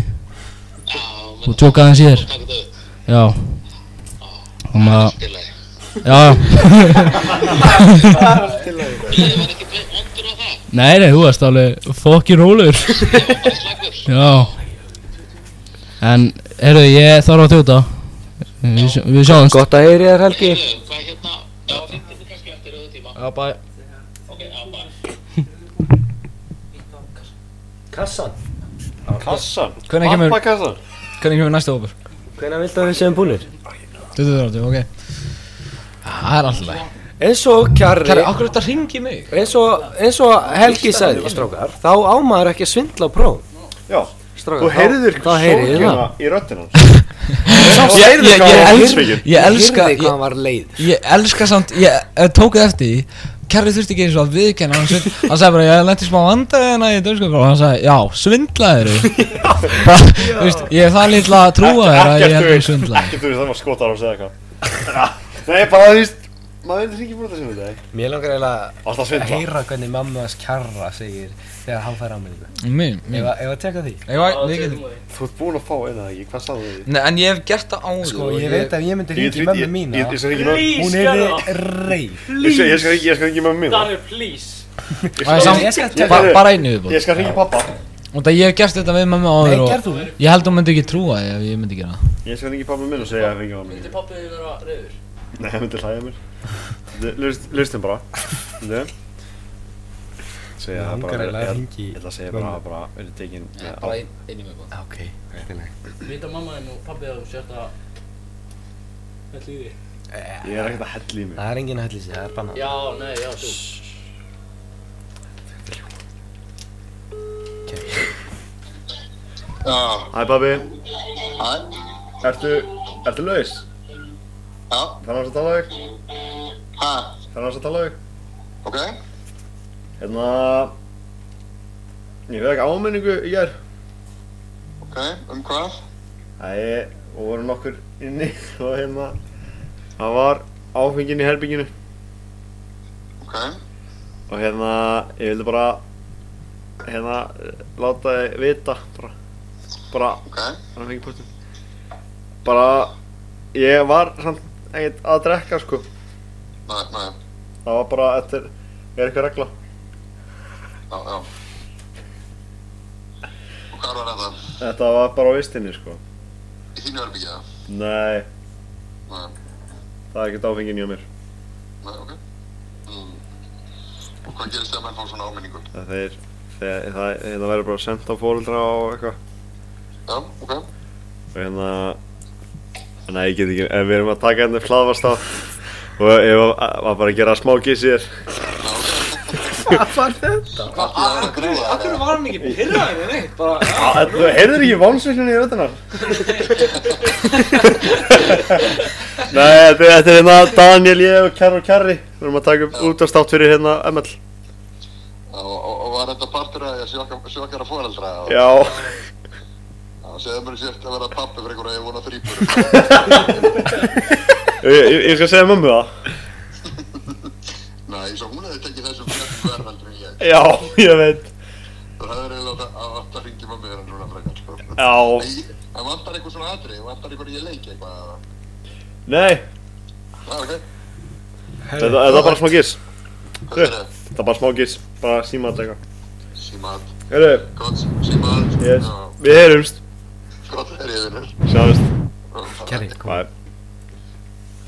og tjóka aðeins í þér já þannig að já nei nei þú varst alveg fokkin rólur já en heyrðu ég þarf að tjóta við, sjá- við sjáumst Gott að heyri þér Helgi já bæ Kassan Kassan Hvenær kemur- Pappakassan Hvernig kemur næsta hópur? Hvenær viltu að við séum búnir? 2030, ok Ah, Það er alltaf læg Eins og Kæri, kjarri okkur þetta ringi mig Eins og, eins og Helgi sagði strákar Þá ámaður ekki að svindla á próf Já Strákar, Þú heyrðir þá, þá heyrið þið það sólkjöna í röddina hans Þú heyrðir hvað hann var heimsbygginn Ég elska Heyrði ég, hvað hann var leið ég elska samt Ég eh, tók það eftir því Kæri þurfti ekki eins og að viðkenna Hann, svind, hann sagði bara Ég lenti smá vandræðina í dönsku Og hann sagði Já, svindlaður Þú veist Ég er það lítla að trúa þér Að ég er Ekkert þú ekki veist svindlaður Ekkert þú veist það var skotar á að segja eitthvað Nei bara þú veist Maður veitir ekki búin að sem þetta Mér langar eiginlega Alltaf að svindla heyra hvernig mamma þess kjarra segir þegar hann fær ámynningu Mín, mín Ef að- ef að teka því Ég var, við getum Þú ert búin að fá eina ekki Hvað sagðu þið? Nei, en ég hef gert það áður Sko, og ég veit að ég myndi Ég- ringi ég- mömmu ég- mína ég- Ég skal ringi mömmu- Hún er reið ég skal- ég skal ringi- ég skal ringi mömmu mína Daniel, please Ég Það er skal- samt- Ég skal ég- teka Ba bara einu viðbúð Ég skal ringi pappa Og það ég hef gert þetta við mamma Nei, áður gerð og þú Ég held hún myndi ekki trúa því ef ég myndi gera það Ég skal ringi pappa minn og segja að ringi mamma mín Myndi pappið þið vera reyður? Nei, það myndi hlæða mér Þetta- lust- Lustum bara Þetta Segja Ég það bara langar eiginlega að er- ringi Ég ætla að segja bara að bara verið tekin Bara ein, einnig með góð Ok, reyðileg Vita mamma þinn og pappið að þú sért að Hvað líði? Ég er ekkert að hella í mig Það er enginn að hella í sig, það er bannað Já, nei, já, þú Já, Hæ pabbi, hæ, ertu, ertu laus? já, Þannig að það tala við þig? hæ, Þannig að það tala við þig? ok Hérna Ég veit ekki áminningu í gær Ok, um hvað? Æ, og voru nokkur inni og hérna Það var áfengin í herbygginu Ok, og hérna ég vildi bara hérna eh, láta þið vita bara, bara ok, Hann fengi postin Bara Ég var samt ekkert að drekka sko næ, næ, Það var bara eftir Er eitthvað regla já, já Og hvað var þetta? Þetta var bara á vistinni sko Í þínu herbyggja? Nei Næ, Það er ekkert áfengin hjá mér næ, ok mm. Og hvað gerist þegar menn fá svona áminningu? Það þeir Þegar það hérna verður bara sendt á fóreldra og eitthvað Já, ok Og hérna Nei, ég get ekki En við erum að taka hérna hlaðvarst á Og ég var, var bara að gera smá gísir Hvað er þetta greiða? Akkur var hann ekki pyrraðið neitt bara Þú heyrður ekki vánsvillinu í röddunar? Nei, þetta þetta er hérna Daniel, ég og Kjarr og Kjarri Við erum að taka upp útastátt fyrir hérna ML Og, og, og var þetta partur að ég sjokkara sjokka fóreldra? Já og- Já, segðu mér sért að vera pappi fyrir einhverja ég vona þrýpur Ég, ég, ég skal segja mömmu það Nei, svo hún hefði tekið þessum fjöldum verðveldur en ég. Já, ég veit Þú hefur eiginlega átt að- átt að ringi með mér en núna frekar, sko. Já Nei, En vantar eitthvað svona atrið, vantar eitthvað ég leiki eitthvað eða? Nei, Já, ok. þetta, þetta er bara smá gís Hvað er það? Þetta er bara smá gís, bara síma að taka Símat. Heyrðu, Gott, símat. yes. Já, við heyrumst Gott er ég vinnur. Sjáumst Kjarri, Hvað er?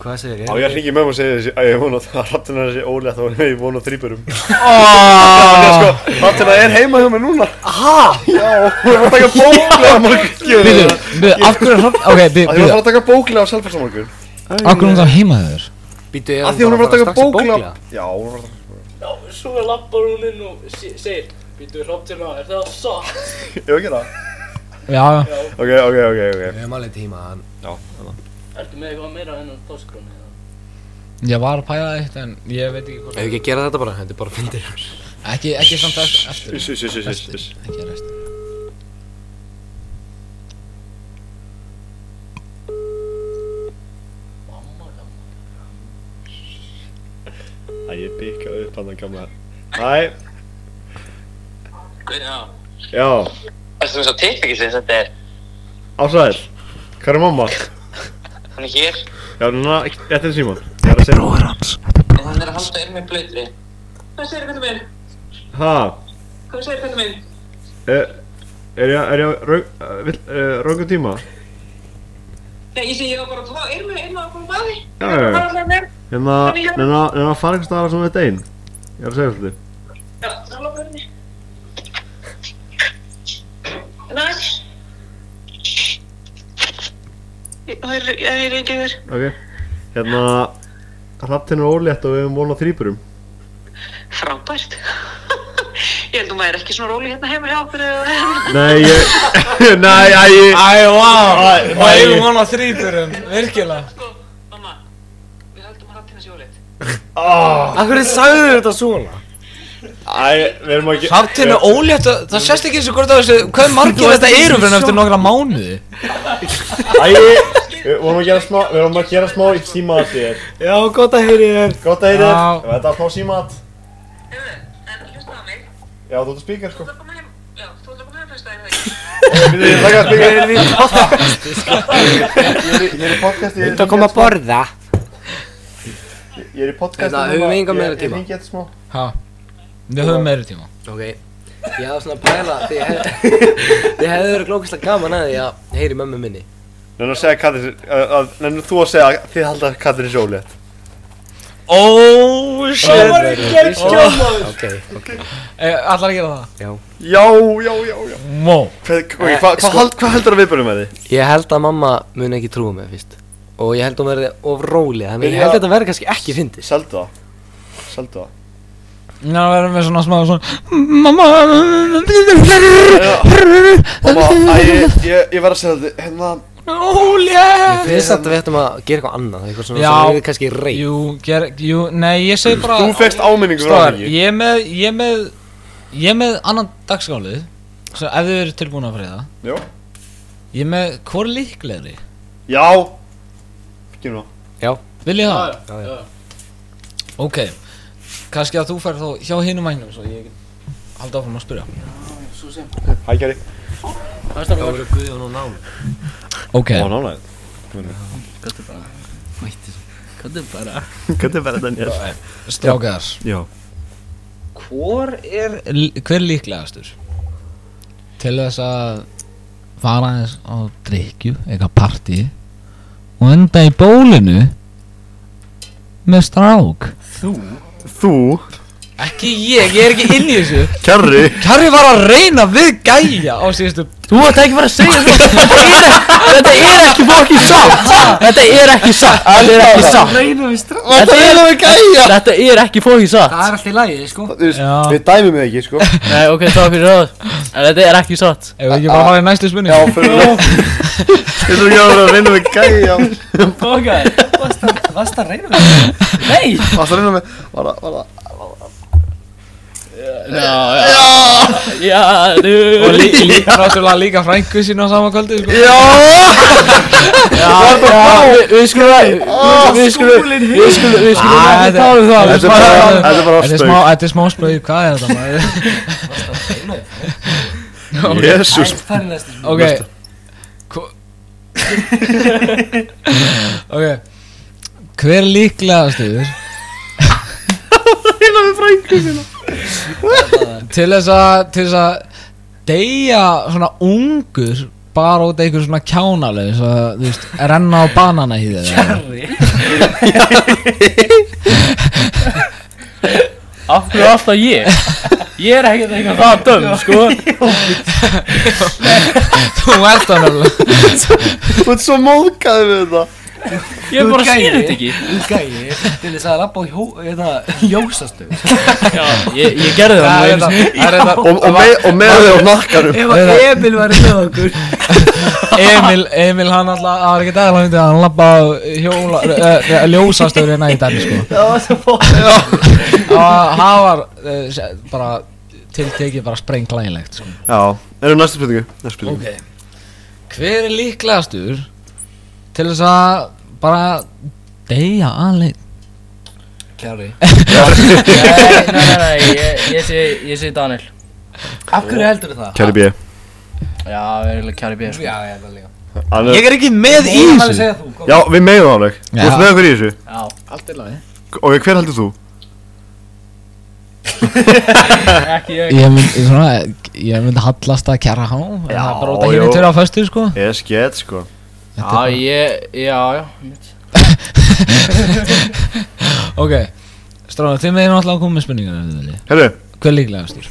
hvað segir Á ég hringi mömmu og segja þessi að ég vona að rattunar þessi ólega þá er ég vona þrýburum sko, Rattunar er heima hjá mér núna Já, við erum að taka bóklega á morgun Býðu, býðu, af hverju er hann Ok, býðu, Það er að býðu fara að taka bóklega á Selfoss á Af morgun hverju er hún þá heima hjá þér? Býtu, er Af því hún er að bara fara að taka strax í bóklega Já, hún er að fara að taka Já, svo lappar hún inn og se- segir Býtu hrópt hérna, er það satt? Ég var ekki það Já, já Ok, ok, ok, ok Við höfum alveg tíma, hann Ertu með eitthvað meira enn um páskrónu? Ég var að pæla eitt en ég veit ekki hvort Ef ekki að gera þetta bara, þetta er bara fyndir Ekki, ekki samt eftir, eftir Iss, iss, iss, iss, iss, iss. Ekki restin Æ, ég bygga upp hann að gamla Æ, Já. já, Það er svo tilbyggisins, þetta er, ásæðir Hvar er mamma? hann er hér, Já, núna, þetta er Simon Ég er að segja en hann er að halda um með blöytri. Hvað segir þetta minn? Ha, Hvað segir þetta minn? er, er ég, er ég á raug- eh, vill- eh, raungum tíma? Nei, ég segi ég var bara að fá, er mér, er maður að koma að því? Já, já, já Hvað er mér? Hérna, hérna, hérna fara eitthvað aðra svona við dein Ég er að segja svolítið Já, það er lókur henni. Næs. Það er, það er ekki verið. Ok, hérna Hrafn er ólétt og við höfum vonað þrýburum Frábært. Ég held að maður er ekki svona róli hérna heima hjá okkur eða... Nei, ég, nei, æ, ég Æ, vá, Æ, það er ég- von á þríturum, virkilega Sko, mamma, við höldum að rættina sjólið. Akkur er sagður þetta svona? Æ, við erum ekki Hrafntinn er ólétt, og- það sést ekki eins og hvort það þessu, hvað er margir þetta eru fyrir en eftir nokkra mánuði? Æ, við vorum að gera smá, við vorum að gera smá í símat í þér Já, gott að heyri þér Gott að heyrið, Já. þetta er smá símat Hefur, en hlusta á mig, þú Já, þú ert að spíkar sko ætlar að koma heim, já, þú ætlar að koma heim fyrst daginn þegar. Við erum að spíkar Ég er í podcasti Ég er í podcasti Þetta kom að borða Ég er í podcasti Hérna, höfum við engan meira tíma? Ég ringi þetta smá Ha, við höfum meiri tíma Ok, ég hafði svona að pæla Þið hefði Þið hefði verið glókislega gaman að því að heyri mömmu minni Nenna að segja Katrin, að- að- nenna þú að segja að þið haldið að Katrin sé ólétt Oh shit Ok, ok, Allar að gera það? já Já, já, já, já Mó Hvað Eh, hva, hva, sko- hald, hva heldur að við byrjum með því? Ég held að mamma mun ekki trúa mig fyrst Og ég held að hún verði of róli Þannig að Byrja- ég held að þetta verði kannski ekki fyndis Seldu það Seldu það Ná, við erum við svona smá svona Mamma Mamma, æ, ég, ég, ég verð að segja þetta Hérna, Ólétt Ég finnst þetta við ættum að gera eitthvað annað Eitthvað svona Já. sem við kannski reyð Jú, ger, jú, nei, ég segi bara þú fegst áminningu frá Stóðar, mig ég er með, ég er með Ég er með annan dagskálið Svo ef þið eru tilbúin að fyrir það Já Ég er með hvor líklegri Já Gynna Vil ég það? já, já. Ok, kannski að þú fær þá hjá hinum mænum Svo ég haldi áfram að spyrja Svo sem. Hæ, Kjari Það er staflega verið. Ok, Ó, nánaðið Gættu bara Mættir Gættu bara Hvernig verður þetta nýjast? strákar Já Hvor er, hver er líklegastur? Til þess að fara aðeins á drikju, eitthvað partí og enda í bólinu með strák Þú Ekki ég, ég er ekki inn í þessu Kjarri Kjarri var að reyna við gæja á síðustu Þú ætti ekki bara að segja þetta Þetta er ekki fokkin satt Þetta er ekki satt Þetta er ekki satt Þetta er ekki gæja Þetta er ekki fokkin satt Það er allt í lagi, sko Já. Við dæmum þig ekki, sko Nei, ok, það fyrir ráð En þetta er ekki satt Ef við ekki bara fara í næstu spurning Já, fyrir nú Ég þú ekki að vera að reyna með gæja Vast að reyna þetta? Það er reyna með Var það, var það Já, nú Og líka, líka náttúrulega líka frængu sín á sama kvöldu sko. Við skulum Ah, Við skulum Við skulum Við skulum Æ, ekki tala um það Þetta er bara, þetta er bara Þetta er smá, þetta er smá spöðu, hvað er þetta maður? spaug Jésús Það er næstu Ok Hvo- Ok Hver líklegastuður Til þess að Til þess að Deyja svona ungur Bara út af einhver svona kjánalegu Svo að, þú veist, renna á banana í þeir Af hverju alltaf ég? Ég er ekkert eitthvað það döm, sko Þú ert það nefnilega Þú ert svo móðgæði við þetta Ég bara sé þetta ekki Þú ert gæi til þess að labba á hjó, hérna, ljósastöð Já, ég, ég gerði það nú einu sinni. Það er þetta Og, og, með, og með þau á nakkanum Ef að Emil var með okkur Emil, Emil hann alltaf, það var ekki dæla myndið hann labba á hjóla, uh, ljósastöður hérna í dag sko. Það var svo fótt Það var- það var eh, se- bara tiltekið bara sprenglægilegt sko. Já, erum næstu spurningu Næstu spurningu Ok Hver er líklegastur til þess að bara deyja alveg Kjari Nei, nei, nei, nei, ég, ég sé, ég sé Daniel Af hverju heldur það? Kæri B Já, við erum eiginlega Kjari B, sko Já, ég held það líka Annars, er ekki með í Ég hann segja þú, kom Já, við meðum það alveg Þú veist með okkur í þessu Já, Allt er lagi Ok, hver heldur þú? ekki ég Ég myndi svona, ég myndi hallast að kjara há Já, Já, bara út að hérna jú. tveir á föstu sko Ég er skett sko Já, ég, já, já, mitt Ok, stráðan, þið meðir náttúrulega að koma með spurningar ef þið viljið. Herru, Hver er líklegastur?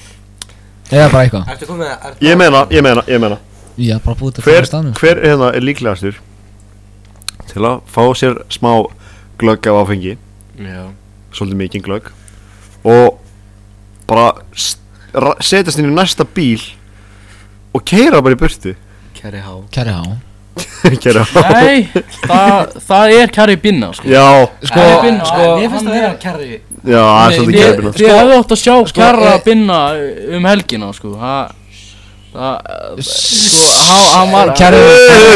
Eða bara eitthvað Ertu komið með það? ég meina, ég meina, ég meina Já, bara búið þetta Hver, fyrir staðnum hver hérna er líklegastur Til að fá sér smá glögg af áfengi Já Svolítið mikið glögg Og bara s- ra- setjast inn í næsta bíl Og keira bara í burtu Kjari H Kjari há Keira Nei, það, það er Kjari Binna, sko Já, Sko, Binna, Sko, mér finnst það vera kærri já, það er svolítið kæri Þið hefðu átt að sjá Kjara Binna um helgina, sko Það, það, sko, hann- hann var Kjari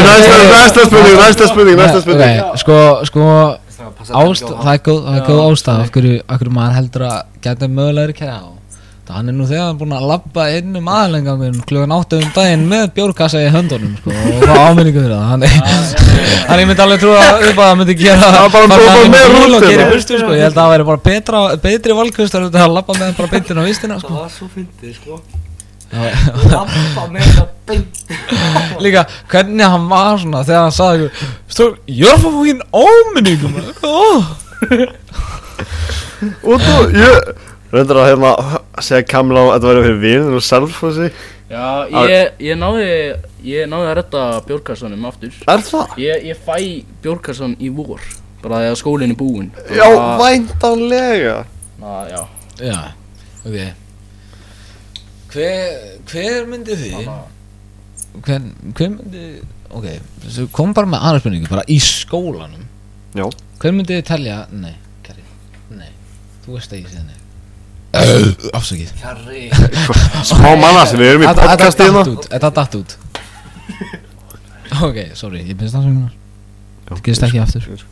Næsta, næsta spurning, næsta spurning, næsta spurning Ok, Sko, sko ást, Það er góð, það er góð ástæð af hverju, af hverju maður heldur að geta mögulegri kjara há Það hann er nú þegar búinn að labba inn um aðalengangin klukkan áttu um daginn með bjórkassa í höndunum sko, og hvað áminningu fyrir það hann, hann ég myndi alveg trúa að upp að það myndi gera var bara- fara bara- bara hann í með bíl og rútuna. gera í burtu sko, ég held að það væri bara betra, betri valkustar að labba með bara beintin á vistina sko. Það var svo fyndið, sko Já, Labba með það beint Líka, hvernig hann var svona þegar hann sagði ykkur Stór, ég er fyrir fokkin áminningum oh. Og þú, ég Röndur að hérna segja Kamla að þetta væri fyrir vinur og selfósi Já, ég, ég náði, ég náði að redda Björkarssonum aftur Er það? Ég, ég fæ Björkarsson í vor bara þegar skólinn er búinn Já, væntanlega Ná, já Já, ok Hver, hver myndi þið Hver, hver myndi Ok, þessu kom bara með aðra spurningu Bara í skólanum Já. Hver myndi þið telja Nei, Kari, nei Þú veist að ég sé nei Afsakið Kærri Smá manna sem við erum í Þetta datt podcastið hérna út, Þetta datt út Ok, sorry, ég byrst afsökunar Þetta gerist ekki aftur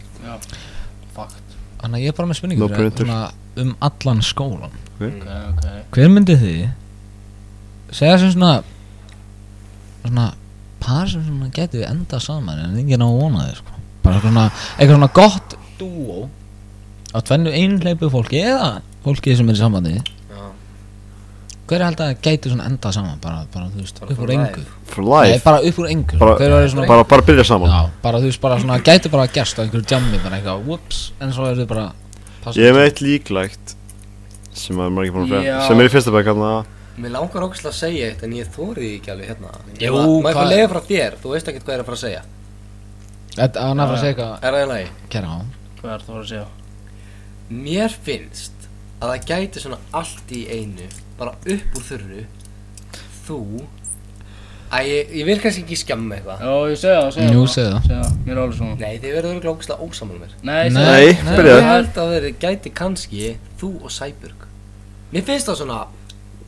Þannig að ég er bara með spurningu No fyrir printer. svona um allan skólan Ok, ok Hver myndi þið segja sem svona svona par sem svona getur enda saman en enginn á að vona þið sko bara svona, eitthvað svona gott dúo á tvennu einhleipu fólki eða fólki sem er í sambandi hver held að gæti svona enda saman bara, bara þú veist, upp úr for engu For Nei, life bara upp úr engu Bara- hver var svona Bara, bara byrja saman Já, bara þú veist, bara svona, gæti bara að gerst á einhverju jammi, bara eitthvað, whoops, en svo er þið bara passa- Ég er með eitt líklægt Sem að maður ekki búin að fræða Já. Sem er í fyrsta bæk hérna Mér langar ógæslega að segja eitt en ég þórið ekki alveg hérna Jú, Má ég fá hvað- að leiða frá þér, þú veist ekkert hvað ég er að fara að segja Þetta, hann er bara að segja eitthvað, Er það í lagi? kæra á Hvað er það að segja? Mér finnst að það gæti svona allt í einu bara upp úr þurru þú Æ, ég, ég vil kannski ekki skjamma eitthvað Já, ég segja það, segja Jú, bara. segðu það. Segja það, mér er alveg svona Nei, þið verður örugglega ógæslega ósammála mér Nei, segja Nei. það Nei, byrja Ég held að þeir gæti kannski þú og Sæbjörg Mér finnst það svona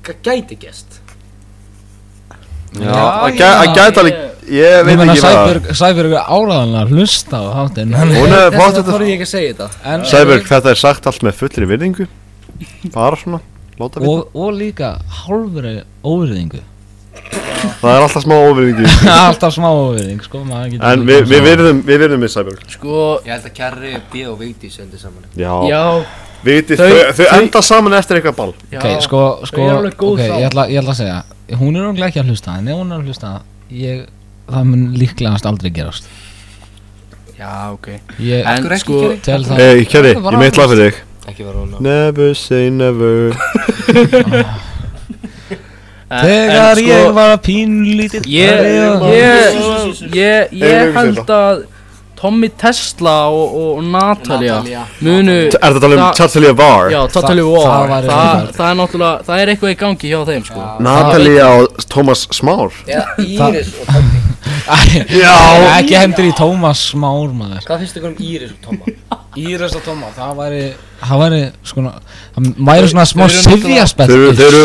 g- gæti gæst Já, að gæ- að gæta alveg Ég Ég veit meina ekki hvað Sæbjörg, Sæbjörg er áraðanlega að hlusta á háttinn Hún er Þess fátt að þetta þorði ég ekki að segja þetta En- Sæberg, þetta er sagt allt með fullri virðingu Bara svona Láta vita og, og líka hálfri óverðingu Það er alltaf smá óvirðingu Alltaf smá óverðing, sko maður getur En við, við virðum, við virðum við Sæberg Sko, Ég held að Kjarri, B og Vigdís undir saman Já, já, Vitið, Þau- þau, þau, þau- enda saman eftir eitthvað ball já Ok, sko, sko Þau eru alveg góð Ok, þá. ég ætla, ég ætla að segja Hún er náttúrulega ekki að hlusta En ef hún er að hlusta ég, Það mun líklegast aldrei gerast Já, ok Ég En ekki sko, gera- tel það Ei, Kjari, Eh, ég meit lag fyrir þig Ekki vera hún á Never say never en, Þegar en, sko, ég var pínlítið Ég, ég, ég, ég Eigum við held þetta? að Tommy Tesla og, og Natalia, Natalia. munu Ertu að tala um það- Natalia Var? Já, Natalia Það- War það það, væri það, frábært. er náttúrulega, það er eitthvað í gangi hjá þeim sko Natalia og Thomas Smár Já, Íris og Tommy Já Ekki hendur í Tómas Már maður Hvað finnst ykkur um Íris og Tomma? Íris og Tóma, það væri Það væri svona Það væri svona smá Þau eru náttúrulega- sifjaspett Þeir eru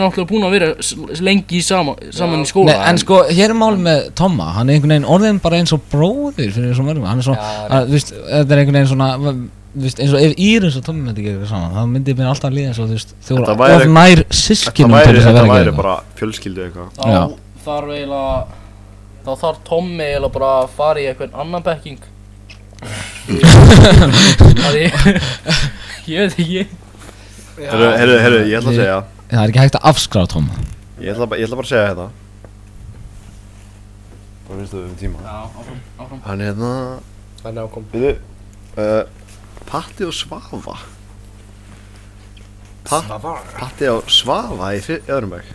náttúrulega búin að vera s- lengi í sama, saman í skóla Nei, en sko, hér er mál með Tomma, hann er einhvern veginn orðin bara eins og bróðir fyrir þessum mörgum, hann er svona, að, þú veist, þetta er einhvern veginn svona, þú veist, eins og ef Íris og Tommi myndi gera eitthvað saman, þá myndi mér alltaf líða eins og þú veist, þú Þetta eru væri- of nær um þetta sískinum væri- til þess að vera Þetta ekki væri eitthvað. bara fjölskyldu eitthvað þá þarf eiginlega þá þarf Tommy eiginlega bara að fara í eitthvað annan backing það ég ég veit ekki Herru, herru, herru, ég ætla að segja Það er ekki hægt að afskrá Tomma. Ég ætla, bara- ég ætla bara að segja þetta Hvað finnst þú um tíma? Já, áfram, áfram Hann er hérna Hann er ákom Við uh, Patti og Svafa Pat, Patti og Svafa í fyr- í öðrum bæk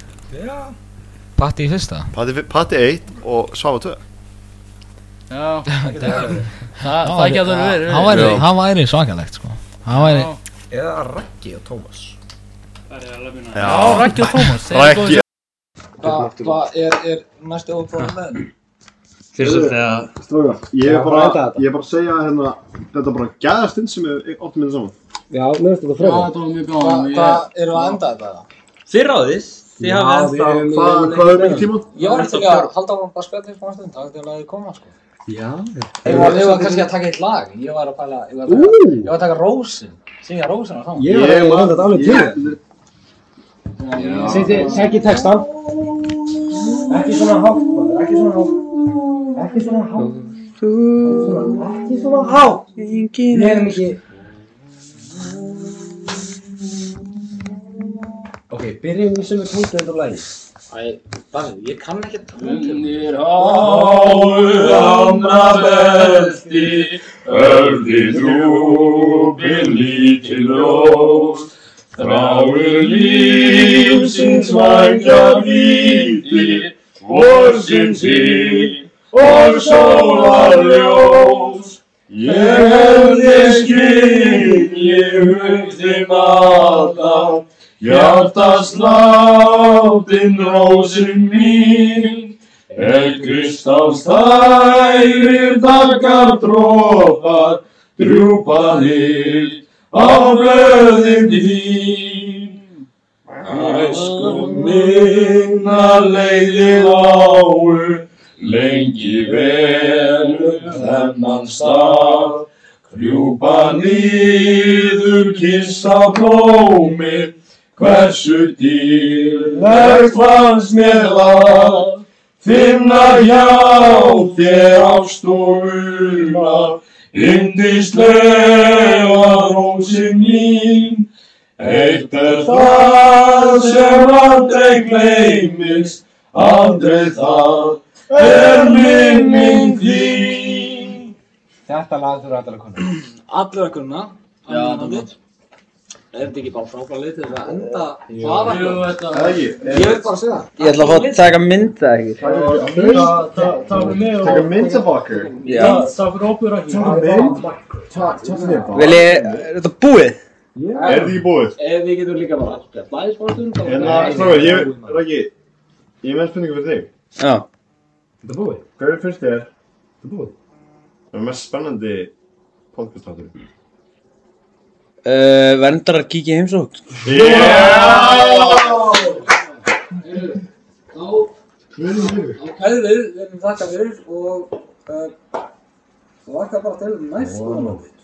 Patti í fyrsta? Patti, fi- Patti 1 og Svafa 2 já það það getur verið Það væri, það væri svakalegt, sko. Það væri, Eða Raggi og Tómas Já, Raggi og Tómas Raggi Hvað er, er næstu óbróðan með henni? Fyrir svolítið að Stráka, ég er Já, bara, ræða þetta. ég er bara að segja hérna, þetta er bara gæðastinn sem við áttum með saman. Já, mér finnst þetta Já, þetta var mjög gaman ég- erum við að enda þetta? Þið ráðið, þið Já, hafið við ennþá erum- Hvað- við erum hvað er mikið tíma? Ég var til að halda á bara spjallið smá stund, það er til að þið koma, sko. Já Ég var, ég var kannski að taka eitt lag, ég var að pæla, ég var að taka, ég var að taka Rósin, syngja Rósin á saman. Ég var eiginlega að þetta alveg ég- til Segði, segði textan Ekki svona hátt, maður, ekki svona hátt Ekki svona hátt Ekki svona hátt Við erum ekki Ok, byrjum við sem við tóntum þetta lagi Æ, Davíð, ég kann ekki að tala um Ég er Háur ána belti Örðin rúpin lítil rós Þráir lífsins vangja víti Vorsins hýr og sólar ljós Ég hefði skil, ég hugði maðan Hjartasláttin rósin mín Er Kristans þærir dagar drópar Drjúpaðir á blöðin þín Æsku minna leiðir lágu Lengi verður þennan stað Krjúpa niður, kissa blómin Hversu dýrlegt fannst mér það Finna hjá þér ástofuna Indislega rósin mín Eitt er það sem aldrei gleymist Aldrei það er minning þín Þetta lag þurfa allir að kunna Allir að kunna, allir að kunna. Er þetta ekki bara frábæra leið til þess að enda hlaða? Jú, þetta- Ég vil bara segja það. Ég ætla að fá að taka mynda ekki Það er með Takk að mynda fokkar. Já. Það fyrir opur að kýra Vil ég, er þetta búið? Er þið ekki búið? Ef við getum líka bara blæðið smá stund. þá- Hérna, stráka, ég, Raggi, ég er með spurningu fyrir þig. Já. Þetta búið. Hver finnst þér? Þetta búið. Það er mest spennandi podcastáttur. Uh, Verndarar kíkja í heimsókn Þá kæðum eh, við, við erum þakka fyrir og uh, og þakka bara til næst. Wow.